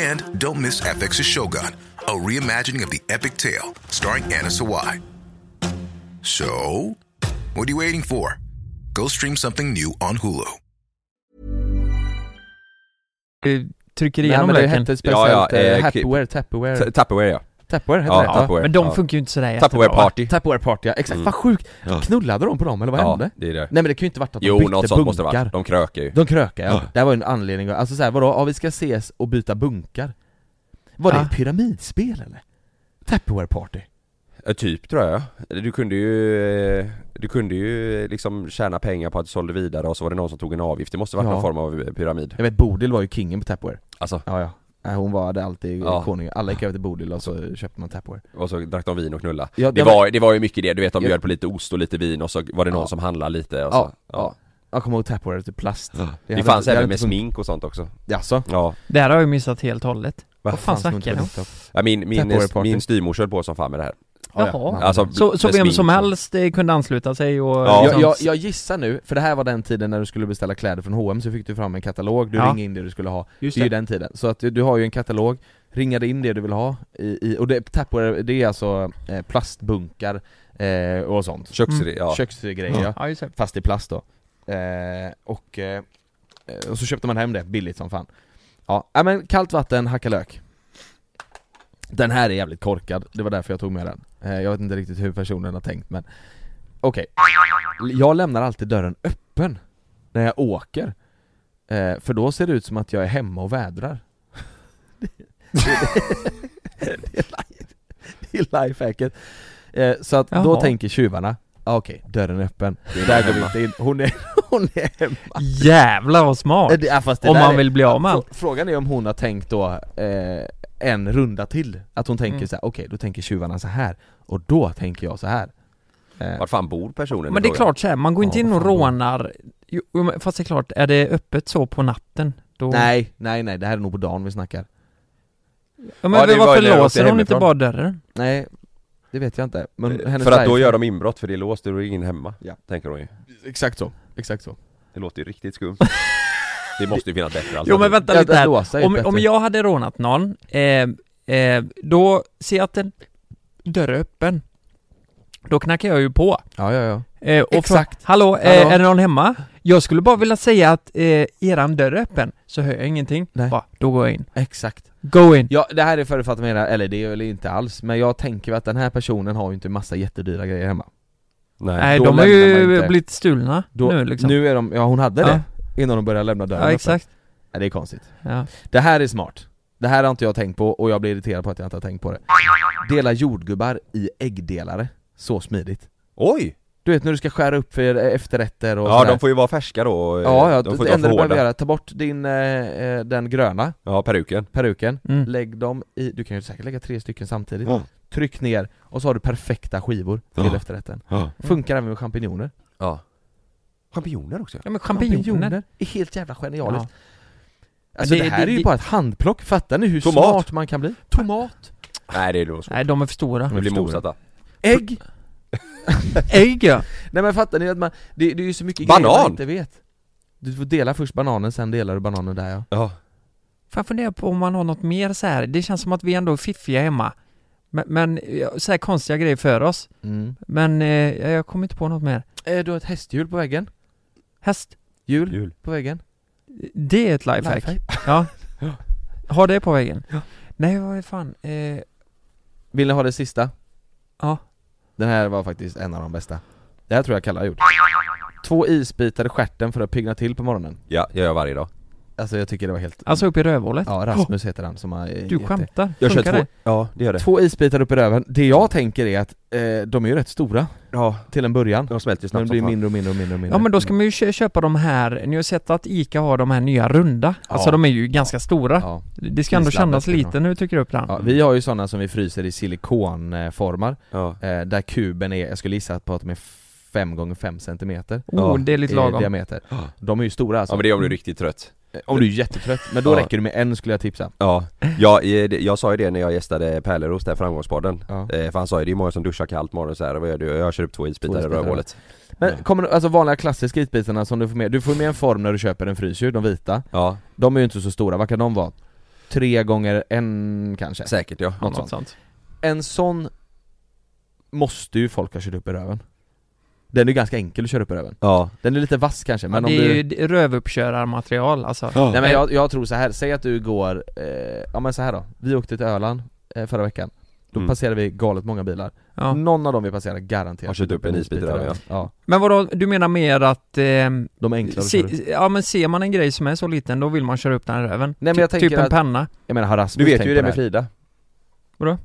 [SPEAKER 6] And don't miss FX's Shogun, a reimagining of the epic tale, starring Anna Sawai. So, what are you waiting for? Go stream something new on Hulu.
[SPEAKER 1] du eh, trycker
[SPEAKER 3] Nej
[SPEAKER 1] igenom
[SPEAKER 3] men det
[SPEAKER 1] löken
[SPEAKER 3] hette speciellt,
[SPEAKER 2] Ja, ja, eh,
[SPEAKER 3] eh, Happyware, Tupperware
[SPEAKER 2] t- Tupperware ja.
[SPEAKER 3] Tupperware hette
[SPEAKER 2] Ja,
[SPEAKER 3] det
[SPEAKER 2] Tupperware.
[SPEAKER 1] Men de
[SPEAKER 2] ja.
[SPEAKER 1] funkar ju inte sådär jättebra
[SPEAKER 2] Tupperware
[SPEAKER 1] va?
[SPEAKER 2] party.
[SPEAKER 3] Tupperware party ja, exakt,
[SPEAKER 2] Mm.
[SPEAKER 3] vad sjukt!
[SPEAKER 2] Ja.
[SPEAKER 3] Knullade de på dem eller vad
[SPEAKER 2] ja,
[SPEAKER 3] hände?
[SPEAKER 2] det är det.
[SPEAKER 3] Nej men det kan ju inte varit att de
[SPEAKER 2] Jo,
[SPEAKER 3] bytte
[SPEAKER 2] något
[SPEAKER 3] bunkar
[SPEAKER 2] sånt måste det vara. De krökar ju.
[SPEAKER 3] De krökar ja.
[SPEAKER 2] Ja.
[SPEAKER 3] det här var ju en anledning, alltså såhär vadå, ja vi ska ses och byta bunkar Var det
[SPEAKER 1] Ja.
[SPEAKER 3] ett pyramidspel eller? Tupperware party?
[SPEAKER 2] Ja, typ tror jag. Du kunde ju, eh, du kunde ju liksom tjäna pengar på att du sålde vidare och så var det någon som tog en avgift. Det måste varit
[SPEAKER 3] Ja.
[SPEAKER 2] någon form av eh, pyramid.
[SPEAKER 3] Jag vet Bodil var ju kingen på Tupperware
[SPEAKER 2] Alltså,
[SPEAKER 3] Ja ja, Nej, hon var det alltid
[SPEAKER 2] Ja.
[SPEAKER 3] konung, alla gick över till Bodil och så köpte man Tupperware
[SPEAKER 2] och så drack de vin och knulla.
[SPEAKER 3] Ja,
[SPEAKER 2] Det
[SPEAKER 3] ja,
[SPEAKER 2] var, det var ju mycket det, du vet de
[SPEAKER 3] Ja.
[SPEAKER 2] bjöd på lite ost och lite vin och så var det någon
[SPEAKER 3] Ja.
[SPEAKER 2] som handlade lite och så.
[SPEAKER 3] Ja, ja. Jag kommer ihåg Tupperware till plast
[SPEAKER 2] Det,
[SPEAKER 3] hade
[SPEAKER 2] fanns
[SPEAKER 3] inte- hade
[SPEAKER 2] även med
[SPEAKER 3] inte funkat.
[SPEAKER 2] smink och sånt också.
[SPEAKER 3] Jaså?
[SPEAKER 2] Ja.
[SPEAKER 1] Det här har jag ju missat helt och hållet
[SPEAKER 2] Va?
[SPEAKER 1] Vad fan snackar du om?
[SPEAKER 2] Ja, Min, min,
[SPEAKER 3] Tupperware party.
[SPEAKER 2] min styvmors höll på som fan med det här.
[SPEAKER 1] Jaha.
[SPEAKER 2] Alltså,
[SPEAKER 1] Så, så
[SPEAKER 2] med
[SPEAKER 1] vem
[SPEAKER 2] smink
[SPEAKER 3] liksom.
[SPEAKER 1] som
[SPEAKER 2] och-
[SPEAKER 1] helst eh, kunde ansluta sig och
[SPEAKER 2] Ja.
[SPEAKER 3] jag,
[SPEAKER 1] liksom,
[SPEAKER 3] jag, jag gissar nu, för det här var den tiden när du skulle beställa kläder från H&M så fick du fram en katalog, du
[SPEAKER 1] Ja.
[SPEAKER 3] ringde in det du skulle ha Det är ju den tiden, så att du, du har ju en katalog, ringade in det du vill ha, i, i, och det, Tupperware, det är alltså eh, plastbunkar eh, och sånt
[SPEAKER 2] Köks...
[SPEAKER 1] Mm.
[SPEAKER 2] Ja.
[SPEAKER 3] Köksgrejer ja.
[SPEAKER 1] Ja, just det.
[SPEAKER 3] fast i plast då eh, och, eh, och så köpte man hem det billigt som fan Ja, äh, men kallt vatten, hacka lök Den här är jävligt korkad, det var därför jag tog med den eh, Jag vet inte riktigt hur personen har tänkt men Okej, jag lämnar alltid dörren öppen när jag åker eh, För då ser det ut som att jag är hemma och vädrar Det är life- det är lifehacket eh, Så att då
[SPEAKER 1] Jaha.
[SPEAKER 3] tänker tjuvarna ah, Okej, dörren är öppen, där går vi inte in, hon är, hon är hemma
[SPEAKER 1] Jävlar vad smart!
[SPEAKER 3] Eh, det- ja, fast det
[SPEAKER 1] Om
[SPEAKER 3] där
[SPEAKER 1] man
[SPEAKER 3] är-
[SPEAKER 1] vill bli av med
[SPEAKER 3] Frå-
[SPEAKER 1] allt.
[SPEAKER 3] Frågan är om hon har tänkt då eh, en runda till, att hon tänker
[SPEAKER 1] Mm.
[SPEAKER 3] så här: okej då tänker tjuvarna så här och då tänker jag så här. Eh,
[SPEAKER 2] Var fan bor personen?
[SPEAKER 1] Men det är
[SPEAKER 2] frågar jag?
[SPEAKER 1] klart så här, man går inte
[SPEAKER 3] Ja,
[SPEAKER 1] in
[SPEAKER 3] vad
[SPEAKER 1] och
[SPEAKER 3] fan då?
[SPEAKER 1] rånar Jo, men Fast det är klart, är det öppet så på natten? Då...
[SPEAKER 3] nej, nej, nej, det här är nog på dagen vi snackar.
[SPEAKER 1] ja, men
[SPEAKER 2] Ja, det var
[SPEAKER 1] varför
[SPEAKER 2] ju när jag
[SPEAKER 1] låser
[SPEAKER 2] åkte
[SPEAKER 1] hon inte
[SPEAKER 2] hemifrån.
[SPEAKER 1] bara dörren?
[SPEAKER 3] Nej, det vet jag inte. Men hennes
[SPEAKER 2] Eh, För att då
[SPEAKER 3] life-
[SPEAKER 2] gör de inbrott för det är låst, då är ingen hemma.
[SPEAKER 3] Ja.
[SPEAKER 2] Tänker de ju.
[SPEAKER 3] Exakt så, exakt så.
[SPEAKER 2] Det låter ju riktigt skumt. Det måste ju finnas bättre
[SPEAKER 3] Alltså,
[SPEAKER 1] Jo men vänta lite här,
[SPEAKER 3] låsa är
[SPEAKER 1] om,
[SPEAKER 3] bättre.
[SPEAKER 1] om jag hade rånat någon, eh, eh, då ser jag att en dörr är öppen Då knackar jag ju på
[SPEAKER 3] Ja, ja, ja.
[SPEAKER 1] eh, och
[SPEAKER 3] Exakt.
[SPEAKER 1] Frågar, Hallå, eh,
[SPEAKER 3] Hallå?
[SPEAKER 1] är det någon hemma? Jag skulle bara vilja säga att eh, eran dörr är öppen, så hör jag ingenting,
[SPEAKER 3] Nej.
[SPEAKER 1] bara, då går jag in
[SPEAKER 3] Exakt.
[SPEAKER 1] Go in!
[SPEAKER 3] Ja, det här är förutfattat mera, eller det är väl inte alls, men jag tänker att den här personen har ju inte massa jättedyra grejer hemma.
[SPEAKER 2] Nej.
[SPEAKER 1] Nej,
[SPEAKER 3] då
[SPEAKER 1] de har
[SPEAKER 3] lämnar man
[SPEAKER 1] ju
[SPEAKER 3] inte.
[SPEAKER 1] blivit stulna
[SPEAKER 3] Då,
[SPEAKER 1] nu liksom
[SPEAKER 3] är de, ja hon hade det, innan de började lämna dörren
[SPEAKER 1] Ja,
[SPEAKER 3] öppen.
[SPEAKER 1] exakt
[SPEAKER 3] Nej, det är konstigt.
[SPEAKER 1] ja.
[SPEAKER 3] Det här är smart. Det här har inte jag tänkt på och jag blir irriterad på att jag inte har tänkt på det. Dela jordgubbar i äggdelare. Så smidigt.
[SPEAKER 2] Oj!
[SPEAKER 3] Du vet när du ska skära upp för efterrätter och
[SPEAKER 2] Ja
[SPEAKER 3] sådär.
[SPEAKER 2] de får ju vara färska då, eh,
[SPEAKER 3] ja, ja,
[SPEAKER 2] de får
[SPEAKER 3] det
[SPEAKER 2] inte
[SPEAKER 3] enda
[SPEAKER 2] vara
[SPEAKER 3] du behöver
[SPEAKER 2] för hårda
[SPEAKER 3] göra, ta bort din, eh, eh, den gröna
[SPEAKER 2] Ja, peruken
[SPEAKER 3] peruken,
[SPEAKER 1] Mm.
[SPEAKER 3] lägg dem i, du kan ju säkert lägga tre stycken samtidigt.
[SPEAKER 2] Ja.
[SPEAKER 3] Tryck ner och så har du perfekta skivor till
[SPEAKER 2] Ja.
[SPEAKER 3] efterrätten.
[SPEAKER 1] Mm.
[SPEAKER 2] Ja,
[SPEAKER 3] Funkar även med champinjoner.
[SPEAKER 2] ja. Champinjoner också
[SPEAKER 1] ja men champinjoner
[SPEAKER 3] är helt jävla genialiskt.
[SPEAKER 1] ja.
[SPEAKER 3] Alltså
[SPEAKER 1] Men
[SPEAKER 3] det,
[SPEAKER 1] det-
[SPEAKER 3] här
[SPEAKER 1] det-
[SPEAKER 3] är ju
[SPEAKER 1] det-
[SPEAKER 3] bara ett handplock, fattar ni hur
[SPEAKER 2] Tomat.
[SPEAKER 3] smart man kan bli? Tomat,
[SPEAKER 2] Nej det är nog så,
[SPEAKER 1] Nej, de är för stora
[SPEAKER 2] de blir
[SPEAKER 3] stora.
[SPEAKER 2] motsatta
[SPEAKER 3] ägg,
[SPEAKER 1] Ägg ja!
[SPEAKER 3] Nej men fattar ni att man, det, det är ju så mycket
[SPEAKER 2] Banan!
[SPEAKER 3] grejer man inte vet Du får dela först bananen, sen delar du bananen där ja
[SPEAKER 2] Ja,
[SPEAKER 1] Fan funderar på om man har något mer så här. det känns som att vi ändå är fiffiga hemma Men, men ja, så här konstiga grejer för oss Men eh, jag kommer inte på något mer
[SPEAKER 3] eh, Du har ett hästhjul på väggen,
[SPEAKER 1] Häst,
[SPEAKER 3] hjul
[SPEAKER 2] jul
[SPEAKER 3] på väggen
[SPEAKER 1] det är ett
[SPEAKER 2] Eh,
[SPEAKER 1] lifehack
[SPEAKER 3] Lifehack.
[SPEAKER 1] Ja Ha det på väggen
[SPEAKER 3] Ja.
[SPEAKER 1] Nej vad fan, eh,
[SPEAKER 3] Vill ni ha det sista?
[SPEAKER 1] Ja.
[SPEAKER 3] Den här var faktiskt en av de bästa Det här tror jag Kalle har gjort Två isbitar i stjärten för att pigna till på morgonen
[SPEAKER 2] Ja, jag gör varje dag
[SPEAKER 3] Alltså jag tycker det var helt
[SPEAKER 1] Alltså upp i rövhålet?
[SPEAKER 3] Ja, Rasmus heter han som
[SPEAKER 1] Oh.
[SPEAKER 3] har
[SPEAKER 1] Du
[SPEAKER 3] gett det.
[SPEAKER 1] skämtar?
[SPEAKER 2] Jag kör
[SPEAKER 1] Funkar
[SPEAKER 2] två,
[SPEAKER 1] det?
[SPEAKER 2] ja det gör det
[SPEAKER 3] Två isbitar upp i röven, det jag tänker är att eh, de är ju rätt stora
[SPEAKER 2] Ja,
[SPEAKER 3] till en början
[SPEAKER 2] de smälter ju
[SPEAKER 3] Men
[SPEAKER 2] snabbt
[SPEAKER 3] det blir
[SPEAKER 2] som fan.
[SPEAKER 3] mindre och mindre och mindre och mindre
[SPEAKER 1] Ja men då ska man ju kö- köpa de här, ni har sett att ICA har de här nya runda Alltså
[SPEAKER 3] Ja.
[SPEAKER 1] de är ju ganska stora
[SPEAKER 3] ja.
[SPEAKER 1] Det ska ändå
[SPEAKER 3] Det är sladdat,
[SPEAKER 1] kännas
[SPEAKER 3] det är
[SPEAKER 1] lite när du trycker upp den
[SPEAKER 3] ja, vi har ju sådana som vi fryser i silikonformar
[SPEAKER 2] Ja,
[SPEAKER 3] eh, Där kuben är, jag skulle gissa på att de är 5 gånger 5 cm
[SPEAKER 1] Oh, det är lite
[SPEAKER 3] i
[SPEAKER 1] lagom
[SPEAKER 3] diameter De är ju stora alltså
[SPEAKER 2] ja men det är om du är riktigt trött
[SPEAKER 3] Om du är jättetrött, men då
[SPEAKER 2] Ja.
[SPEAKER 3] räcker det med en skulle jag tipsa
[SPEAKER 2] Ja, jag, eh, det- jag sa ju det när jag gästade Pärleros där framgångspodden
[SPEAKER 3] Ja.
[SPEAKER 2] eh, För han sa ju det är många som duschar kallt morgon och så här, vad gör du? Jag kör upp två isbitar i
[SPEAKER 3] isbitar,
[SPEAKER 2] rövhålet
[SPEAKER 3] Men kommer du, alltså vanliga klassiska isbitarna som du får med, du får med en form när du köper en frys ju, de vita
[SPEAKER 2] Ja,
[SPEAKER 3] De är ju inte så stora, vad kan de vara? Tre gånger en kanske?
[SPEAKER 2] säkert ja
[SPEAKER 3] Något sånt. En sån måste ju folk ha kört upp i röven Den är ganska enkel att köra upp i röven,
[SPEAKER 2] Ja,
[SPEAKER 3] den är lite vass kanske men
[SPEAKER 1] Men
[SPEAKER 3] om
[SPEAKER 1] det
[SPEAKER 3] du...
[SPEAKER 1] är ju d- rövuppkörarmaterial alltså
[SPEAKER 3] Nej men jag, jag tror så här. säg att du går, eh, ja men så här då, vi åkte till Öland eh, förra veckan Då
[SPEAKER 2] Mm.
[SPEAKER 3] passerade vi galet många bilar,
[SPEAKER 1] ja.
[SPEAKER 3] någon av dem vi passerade garanterat
[SPEAKER 2] Har kört upp en isbit i röven,
[SPEAKER 3] ja. ja
[SPEAKER 1] Men vadå, du menar mer att... Eh,
[SPEAKER 3] De är enklare att köra upp.
[SPEAKER 1] se, ja men ser man en grej som är så liten då vill man köra upp den i röven
[SPEAKER 3] Nej, men
[SPEAKER 1] Ty-
[SPEAKER 3] jag tänker
[SPEAKER 1] Typ en
[SPEAKER 3] att-
[SPEAKER 1] penna
[SPEAKER 3] Jag menar har Rasmus
[SPEAKER 2] du vet
[SPEAKER 3] tänkt
[SPEAKER 2] ju
[SPEAKER 3] på
[SPEAKER 2] det med
[SPEAKER 3] här?
[SPEAKER 2] Frida
[SPEAKER 1] Vadå?
[SPEAKER 2] Nej,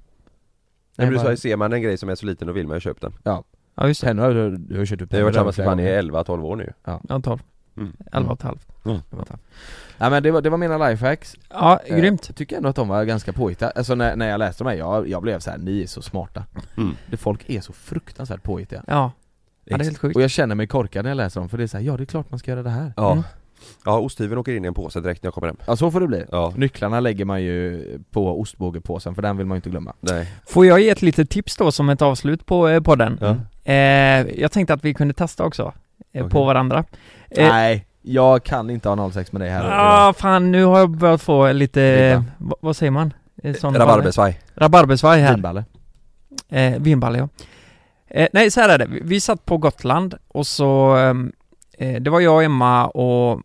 [SPEAKER 2] men du
[SPEAKER 3] bara-
[SPEAKER 2] sa ju, ser man en grej som är så liten då vill man ju köpa den
[SPEAKER 1] Ja just det,
[SPEAKER 3] Sen har du, du har kört upp den
[SPEAKER 2] Jag har varit
[SPEAKER 3] i röven
[SPEAKER 2] tillsammans
[SPEAKER 3] flera
[SPEAKER 2] med Fanny i
[SPEAKER 3] gånger.
[SPEAKER 2] 11-12 år nu
[SPEAKER 1] ja 12,
[SPEAKER 2] Mm.
[SPEAKER 1] 11 och ett halvt
[SPEAKER 3] Ja men det var, det var mina lifehacks,
[SPEAKER 1] Ja,
[SPEAKER 3] Eh,
[SPEAKER 1] grymt
[SPEAKER 3] jag tycker ändå att de var ganska påhittade, alltså när, när jag läste de här, jag, jag blev så här: ni är så smarta
[SPEAKER 2] Mm.
[SPEAKER 3] det, Folk är så fruktansvärt påhittiga
[SPEAKER 1] Ja, ja det är helt sjukt
[SPEAKER 3] Och jag känner mig korkad när jag läser dem för det är såhär, ja det är klart man ska göra det här
[SPEAKER 2] Ja
[SPEAKER 1] Mm.
[SPEAKER 2] Ja, osthyveln åker in i en påse direkt när jag kommer hem
[SPEAKER 3] Ja så får det bli
[SPEAKER 2] Ja,
[SPEAKER 3] Nycklarna lägger man ju på ostbågepåsen för den vill man ju inte glömma
[SPEAKER 2] nej
[SPEAKER 1] Får jag ge ett litet tips då som ett avslut på eh, podden?
[SPEAKER 2] Ja.
[SPEAKER 1] Eh, jag tänkte att vi kunde testa också, eh, på
[SPEAKER 2] Okej.
[SPEAKER 1] varandra eh,
[SPEAKER 3] Nej, jag kan inte ha 06 med dig här
[SPEAKER 1] Ja, ah, fan nu har jag börjat få lite, eh, vad, vad säger man? Eh, sån-
[SPEAKER 2] Rabarbersvaj
[SPEAKER 1] Rabarbersvaj här
[SPEAKER 3] Vinballe
[SPEAKER 1] Eh, vinballe ja. Eh, nej, så här är det. Vi, vi satt på Gotland och så... ehm, Eh, det var jag, Emma och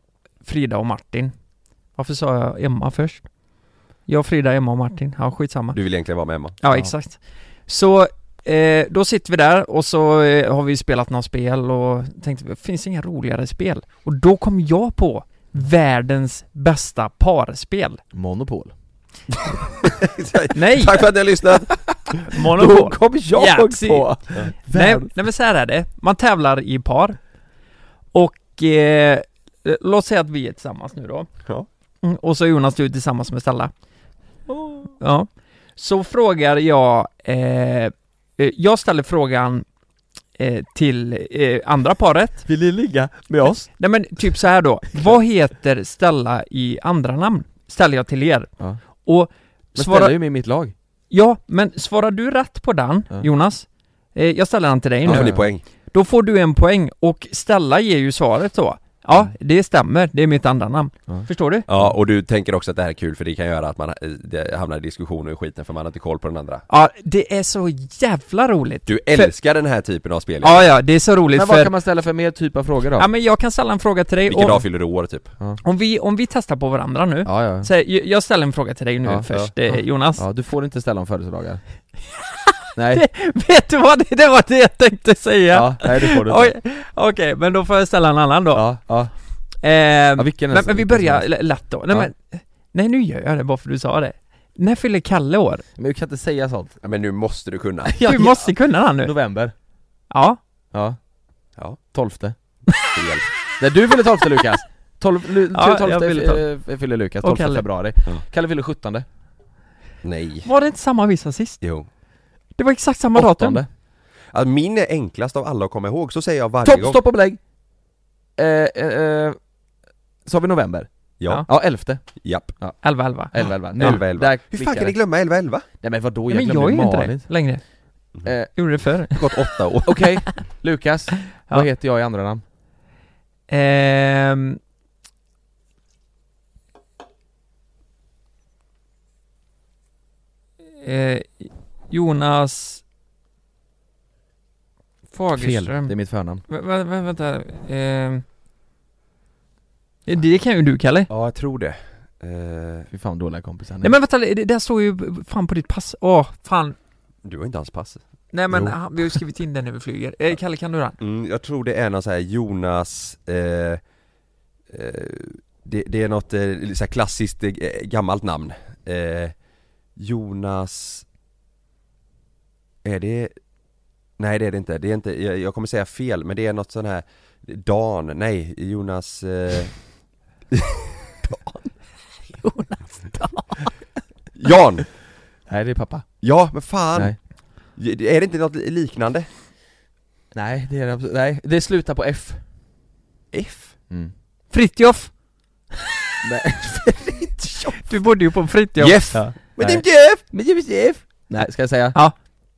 [SPEAKER 1] Frida och Martin. Varför sa jag Emma först? Jag, Frida, Emma och Martin. Ja, skitsamma.
[SPEAKER 2] Du vill egentligen vara med Emma
[SPEAKER 1] Ja, exakt. Så eh, då sitter vi där och så eh, har vi spelat några spel och tänkte, finns det inga roligare spel? Och då kom jag på världens bästa parspel.
[SPEAKER 3] Monopol
[SPEAKER 1] Nej!
[SPEAKER 2] Tack för att ni har lyssnat!
[SPEAKER 1] Monopol!
[SPEAKER 3] kom jag
[SPEAKER 1] Yatzy. Nej,
[SPEAKER 3] Vem?
[SPEAKER 1] nej men så här är det, man tävlar i par Och eh, låt säga att vi är tillsammans nu då
[SPEAKER 2] Ja.
[SPEAKER 1] Mm, Och så är Jonas du tillsammans med Stella
[SPEAKER 3] Oh.
[SPEAKER 1] Ja Så frågar jag eh, eh, Jag ställer frågan eh, till eh, andra paret
[SPEAKER 3] Vill ni ligga med oss?
[SPEAKER 1] Nej men typ så här då, vad heter Stella i andra namn? Ställer jag till er
[SPEAKER 3] Ja.
[SPEAKER 1] Och
[SPEAKER 3] Men
[SPEAKER 1] svara-
[SPEAKER 3] ställa ju med i mitt lag
[SPEAKER 1] Ja, men svarar du rätt på den,
[SPEAKER 3] Ja.
[SPEAKER 1] Jonas? Eh, jag ställer den till dig
[SPEAKER 2] Nu
[SPEAKER 1] nu
[SPEAKER 2] får ni poäng
[SPEAKER 1] Då får du en poäng och Stella ger ju svaret då Ja, det stämmer, det är mitt andra namn
[SPEAKER 3] Mm. Ja.
[SPEAKER 1] Förstår du?
[SPEAKER 2] Ja, och du tänker också att det här är kul för det kan göra att man eh, det hamnar i diskussioner och skiten för man har inte koll på den andra
[SPEAKER 1] Ja, det är så jävla roligt
[SPEAKER 2] Du älskar den här typen av spel
[SPEAKER 1] Ja, ja, det är så roligt
[SPEAKER 3] Men
[SPEAKER 1] för
[SPEAKER 3] vad kan man ställa för mer typ av frågor då?
[SPEAKER 1] Ja men jag kan ställa en fråga till dig
[SPEAKER 2] Vilken
[SPEAKER 1] om,
[SPEAKER 2] dag fyller du år typ?
[SPEAKER 1] om, vi, om vi testar på varandra nu
[SPEAKER 3] ja, ja.
[SPEAKER 1] Så här, jag jag ställer en fråga till dig nu
[SPEAKER 3] Ja,
[SPEAKER 1] först,
[SPEAKER 3] ja.
[SPEAKER 1] eh, Jonas
[SPEAKER 3] Ja, du får inte ställa om födelsedagar Nej,
[SPEAKER 1] Vet du vad, det, det var det jag tänkte säga!
[SPEAKER 3] ja, nej det får du inte
[SPEAKER 1] Oj, Okej, men då får jag ställa en annan då
[SPEAKER 3] Ja, ja,
[SPEAKER 1] Ehm,
[SPEAKER 3] ja vilken
[SPEAKER 1] men, men vi
[SPEAKER 3] vilken
[SPEAKER 1] börjar
[SPEAKER 3] som helst.
[SPEAKER 1] l- lätt då, nej
[SPEAKER 3] Ja.
[SPEAKER 1] men Nej nu gör jag det bara för du sa det När fyller Kalle år?
[SPEAKER 3] Men du kan inte säga sånt
[SPEAKER 2] Ja, men nu måste du kunna
[SPEAKER 1] Du måste kunna han nu
[SPEAKER 3] November
[SPEAKER 1] Ja
[SPEAKER 3] Ja
[SPEAKER 2] Ja.
[SPEAKER 3] Tolfte Nej du fyller tolfte Lukas! Tolv, lu,
[SPEAKER 1] Ja, jag
[SPEAKER 3] tolfte
[SPEAKER 1] fyller
[SPEAKER 3] fyller, fyller Lukas,
[SPEAKER 1] Och
[SPEAKER 3] 12
[SPEAKER 1] Kalle.
[SPEAKER 3] februari
[SPEAKER 2] Ja.
[SPEAKER 3] Kalle fyller sjuttonde
[SPEAKER 2] Nej
[SPEAKER 1] Var det inte samma visa sist?
[SPEAKER 2] Jo
[SPEAKER 1] Det var exakt samma datum.
[SPEAKER 3] Åttonde
[SPEAKER 2] alltså, Min är enklast av alla att komma ihåg, så säger jag varje
[SPEAKER 3] Topp,
[SPEAKER 2] gång
[SPEAKER 3] stopp och belägg! Eh, eh, eh, sa vi november?
[SPEAKER 2] Ja,
[SPEAKER 3] Ja, elfte,
[SPEAKER 2] japp
[SPEAKER 1] 11, 11.
[SPEAKER 3] elva, elva,
[SPEAKER 2] Ja. Elva, elva.
[SPEAKER 3] Där
[SPEAKER 2] Hur fan kan
[SPEAKER 3] klickar
[SPEAKER 2] ni
[SPEAKER 3] det.
[SPEAKER 2] glömma 11-11?
[SPEAKER 3] Nej men vadå,
[SPEAKER 1] Nej,
[SPEAKER 3] jag
[SPEAKER 1] men
[SPEAKER 3] glömde
[SPEAKER 1] jag är ju inte
[SPEAKER 3] Malin
[SPEAKER 1] det längre.
[SPEAKER 3] Eh,
[SPEAKER 1] Gjorde det förr.
[SPEAKER 2] Gått åtta år
[SPEAKER 3] Okej, Lukas, vad heter jag i andra namn?
[SPEAKER 1] Ehm... Eh, Jonas Fagerström.
[SPEAKER 3] det är mitt förnamn
[SPEAKER 1] Vä- vä- vä- vänta. Ehm... Det kan ju du Kalle.
[SPEAKER 2] Ja, jag tror det eh,
[SPEAKER 3] Fy fan dåliga kompisar
[SPEAKER 1] Nej men vänta, det där står ju fan på ditt pass. Åh, fan.
[SPEAKER 2] Du har inte hans pass
[SPEAKER 1] Nej men
[SPEAKER 2] Jo.
[SPEAKER 1] han- vi har ju skrivit in den när vi flyger. Eh, Kalle kan du den?
[SPEAKER 2] mm, Jag tror det är någon så här Jonas eh, eh, Det, det är något eh, så här klassiskt eh, gammalt namn eh, Jonas Är det Nej det är det inte, det är inte, jag, jag kommer säga fel men det är något sån här Dan, nej Jonas eh... Dan Jonas Dan Jan!
[SPEAKER 3] Nej det är pappa
[SPEAKER 2] Ja men fan!
[SPEAKER 3] Nej.
[SPEAKER 2] Är det inte något liknande?
[SPEAKER 3] Nej det är det absolut, nej det slutar på F
[SPEAKER 2] F?
[SPEAKER 3] mm.
[SPEAKER 1] Fritjof!
[SPEAKER 3] Nej.
[SPEAKER 1] Du bodde ju på Fritjof
[SPEAKER 2] Jeff!
[SPEAKER 1] Ja,
[SPEAKER 2] Men det
[SPEAKER 3] Nej.
[SPEAKER 2] är Jeff!
[SPEAKER 3] Men det är F! Nej ska jag säga?
[SPEAKER 1] Ja.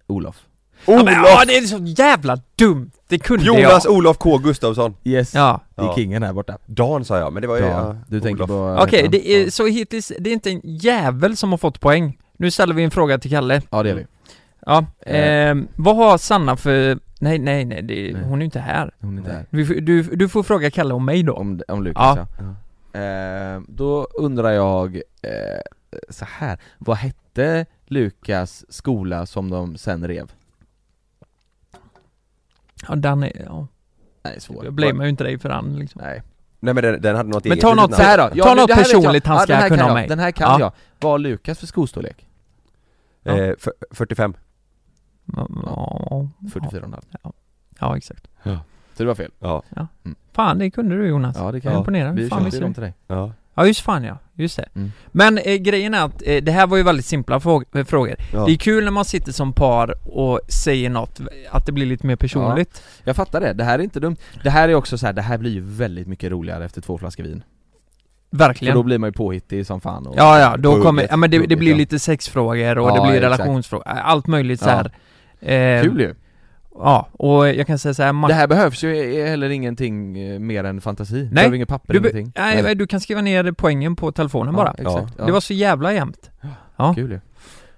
[SPEAKER 3] Olof
[SPEAKER 1] ja, men, ja det är så jävla dumt! Det kunde
[SPEAKER 2] Jonas
[SPEAKER 1] jag!
[SPEAKER 2] Olof K Gustafsson
[SPEAKER 3] Yes,
[SPEAKER 1] Ja,
[SPEAKER 3] det är
[SPEAKER 2] Ja.
[SPEAKER 3] kingen här borta
[SPEAKER 2] Dan sa jag, men det var ju ja,
[SPEAKER 3] Du tänker
[SPEAKER 2] Olof.
[SPEAKER 3] på... vad
[SPEAKER 1] okej,
[SPEAKER 3] heter
[SPEAKER 1] det
[SPEAKER 3] han?
[SPEAKER 1] är, så hittills, det är inte en jävel som har fått poäng Nu ställer vi en fråga till Kalle
[SPEAKER 3] Ja det är vi,
[SPEAKER 1] Ja,
[SPEAKER 3] Eh.
[SPEAKER 1] ehm, vad har Sanna för... Nej, nej, nej, det,
[SPEAKER 3] Nej.
[SPEAKER 1] hon är ju inte här
[SPEAKER 3] hon är inte här
[SPEAKER 1] du, får- du, du får fråga Kalle om mig då
[SPEAKER 3] Om, om Lukas ja.
[SPEAKER 1] Ja.
[SPEAKER 3] Eh, då undrar jag eh, så här. vad hette Lukas skola som de sen rev?
[SPEAKER 1] Ja, den är, ja,
[SPEAKER 3] Nej, svår.
[SPEAKER 1] jag blamear ju inte dig för han liksom
[SPEAKER 3] Nej.
[SPEAKER 2] Nej men den, den hade något
[SPEAKER 1] Men
[SPEAKER 2] eget
[SPEAKER 1] ta
[SPEAKER 2] litet
[SPEAKER 1] något
[SPEAKER 2] namn.
[SPEAKER 3] Så här då.
[SPEAKER 1] Ta
[SPEAKER 3] nu-
[SPEAKER 1] något
[SPEAKER 3] det här vet
[SPEAKER 1] personligt
[SPEAKER 3] jag.
[SPEAKER 1] han ska
[SPEAKER 3] den här
[SPEAKER 1] kunna
[SPEAKER 3] kan jag.
[SPEAKER 1] mig.
[SPEAKER 3] Den här kan
[SPEAKER 1] Ja.
[SPEAKER 3] jag. Vad har Lukas för skostorlek?
[SPEAKER 1] Ja.
[SPEAKER 2] Eh, f- 45
[SPEAKER 1] Ja,
[SPEAKER 3] 44,5
[SPEAKER 1] ja exakt
[SPEAKER 3] Så det var fel.
[SPEAKER 2] Ja,
[SPEAKER 1] Fan, det kunde du Jonas
[SPEAKER 3] Ja det kan
[SPEAKER 1] Jag
[SPEAKER 3] jag.
[SPEAKER 1] imponerar,
[SPEAKER 3] Vi
[SPEAKER 1] fan
[SPEAKER 3] köpte
[SPEAKER 1] visste
[SPEAKER 3] ju
[SPEAKER 1] du
[SPEAKER 3] dem till dig.
[SPEAKER 2] ja,
[SPEAKER 1] Ja just fan ja, just det.
[SPEAKER 3] Mm.
[SPEAKER 1] Men eh, grejen är att eh, det här var ju väldigt simpla fråg- eh, frågor.
[SPEAKER 2] ja.
[SPEAKER 1] Det är kul när man sitter som par och säger något, att det blir lite mer personligt.
[SPEAKER 3] Jag fattar det, det här är inte dumt. Det här är också så här. det här blir ju väldigt mycket roligare efter två flaskor vin. För
[SPEAKER 1] Verkligen.
[SPEAKER 3] då blir man ju påhittig som fan och...
[SPEAKER 1] ja ja, då
[SPEAKER 2] Hugget,
[SPEAKER 1] kommer, ja men det, det
[SPEAKER 2] hugget,
[SPEAKER 1] blir
[SPEAKER 2] ja.
[SPEAKER 1] lite sexfrågor och
[SPEAKER 3] Ja,
[SPEAKER 1] det blir
[SPEAKER 3] exakt.
[SPEAKER 1] relationsfrågor, allt möjligt
[SPEAKER 3] Ja.
[SPEAKER 1] så här. Eh,
[SPEAKER 3] Kul ju!
[SPEAKER 1] Ja, och jag kan säga så här, Max-
[SPEAKER 3] Det här behövs ju heller ingenting eh, mer än fantasi. Nej. Behöver ingen papper,
[SPEAKER 1] du, be-
[SPEAKER 3] ingenting.
[SPEAKER 1] nej, nej, du kan skriva ner poängen på telefonen bara.
[SPEAKER 3] Ja, exakt. Ja.
[SPEAKER 1] Det var så jävla jämnt. ja.
[SPEAKER 3] kul ju.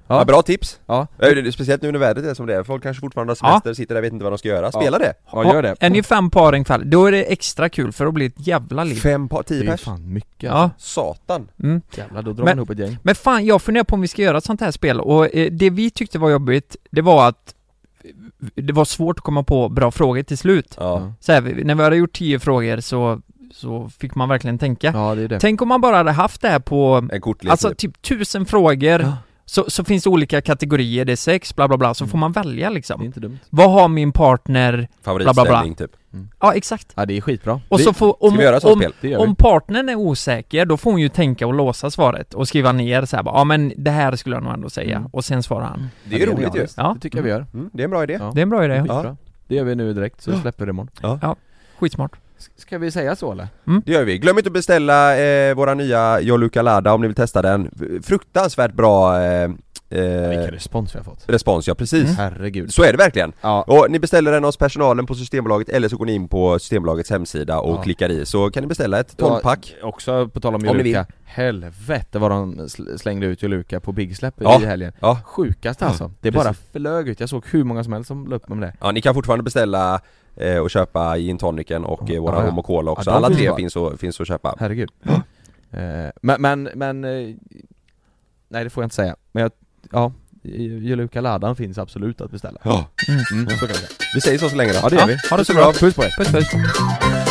[SPEAKER 2] Ja.
[SPEAKER 3] Ja,
[SPEAKER 2] bra tips!
[SPEAKER 3] Ja.
[SPEAKER 2] Ja, det är Speciellt nu när vädret är som det är, folk kanske fortfarande har semester, sitter där och vet inte vad de ska göra, spela det!
[SPEAKER 3] ja, gör det.
[SPEAKER 1] Är ni fem par en kväll, då är det extra kul för då blir det ett jävla liv.
[SPEAKER 2] Fem par,
[SPEAKER 3] Det
[SPEAKER 2] tio
[SPEAKER 3] är
[SPEAKER 2] pers?
[SPEAKER 3] fan mycket
[SPEAKER 1] Ja.
[SPEAKER 3] alltså.
[SPEAKER 2] Satan!
[SPEAKER 1] Mm.
[SPEAKER 3] Jävlar, då drar
[SPEAKER 1] Men-
[SPEAKER 3] man ihop ett gäng.
[SPEAKER 1] Men fan, jag funderar på om vi ska göra ett sånt här spel och eh, det vi tyckte var jobbigt, det var att eh, det var svårt att komma på bra frågor till slut.
[SPEAKER 2] Ja,
[SPEAKER 1] Så här, vi- när vi hade gjort tio frågor så, så fick man verkligen tänka.
[SPEAKER 3] Ja, det är det.
[SPEAKER 1] Tänk om man bara hade haft det här på,
[SPEAKER 2] en kortlek
[SPEAKER 1] alltså typ tusen frågor,
[SPEAKER 3] Ja.
[SPEAKER 1] så, så finns det olika kategorier, det är sex, bla bla bla, så
[SPEAKER 3] Mm.
[SPEAKER 1] får man välja
[SPEAKER 3] Det är
[SPEAKER 1] liksom.
[SPEAKER 3] inte dumt.
[SPEAKER 1] Vad har min partner,
[SPEAKER 2] favoritställning
[SPEAKER 1] bla, bla,
[SPEAKER 2] typ
[SPEAKER 1] ja exakt.
[SPEAKER 3] Ja, det är skitbra.
[SPEAKER 1] Och
[SPEAKER 3] det,
[SPEAKER 1] så får, om,
[SPEAKER 2] Ska vi göra ett sånt
[SPEAKER 1] om,
[SPEAKER 2] spel?
[SPEAKER 3] det gör vi.
[SPEAKER 1] om partnern är osäker, då får hon ju tänka och låsa svaret och skriva ner så här, bara, ja men det här skulle jag nog ändå säga,
[SPEAKER 3] Mm. Mm.
[SPEAKER 1] och sen svarar han.
[SPEAKER 2] Det är ju
[SPEAKER 3] Ja,
[SPEAKER 2] roligt ju!
[SPEAKER 3] faktiskt.
[SPEAKER 1] Ja.
[SPEAKER 3] Det tycker jag vi gör.
[SPEAKER 2] Mm, det är en bra idé
[SPEAKER 3] Ja.
[SPEAKER 1] Det är en bra idé.
[SPEAKER 3] Det är skitbra. Det gör vi nu direkt, så släpper vi det imorgon.
[SPEAKER 1] Skitsmart.
[SPEAKER 3] S- Ska vi säga så eller?
[SPEAKER 2] Det gör vi, glöm inte att beställa eh, våra nya Joluca Lada om ni vill testa den Fruktansvärt bra eh, eh,
[SPEAKER 3] Vilken respons vi Mm. har fått.
[SPEAKER 2] respons ja, precis
[SPEAKER 1] Mm.
[SPEAKER 3] Herregud.
[SPEAKER 2] Så är det verkligen!
[SPEAKER 3] Ja.
[SPEAKER 2] Och ni beställer den hos personalen på Systembolaget eller så går ni in på Systembolagets hemsida och
[SPEAKER 3] Ja.
[SPEAKER 2] klickar i så kan ni beställa ett 12-pack
[SPEAKER 3] Ja, Också på tal om
[SPEAKER 2] Om ni vill.
[SPEAKER 3] Joluka, helvete vad de sl- slängde ut Joluka på Big Slap
[SPEAKER 2] Ja.
[SPEAKER 3] i helgen
[SPEAKER 2] Ja.
[SPEAKER 3] Sjukaste
[SPEAKER 2] Ja,
[SPEAKER 3] alltså, det
[SPEAKER 2] precis.
[SPEAKER 3] bara flög ut, jag såg hur många som helst som la upp med det
[SPEAKER 2] Ja, ni kan fortfarande beställa eh, och köpa gin tonicen och eh, våra
[SPEAKER 3] Ja, ja.
[SPEAKER 2] rom och cola också.
[SPEAKER 3] Ja, de
[SPEAKER 2] Alla
[SPEAKER 3] finns
[SPEAKER 2] tre
[SPEAKER 3] kvar.
[SPEAKER 2] finns, och, finns att köpa.
[SPEAKER 3] Herregud eh, Men, men, men eh, Nej det får jag inte säga, men jag, ja Joluka-ladan finns absolut att beställa
[SPEAKER 2] Ja.
[SPEAKER 3] Mm, så kan vi säga.
[SPEAKER 2] Vi säger så så länge då.
[SPEAKER 3] Ja det gör vi,
[SPEAKER 2] Ha det så bra.
[SPEAKER 3] puss på er!
[SPEAKER 1] Puss puss.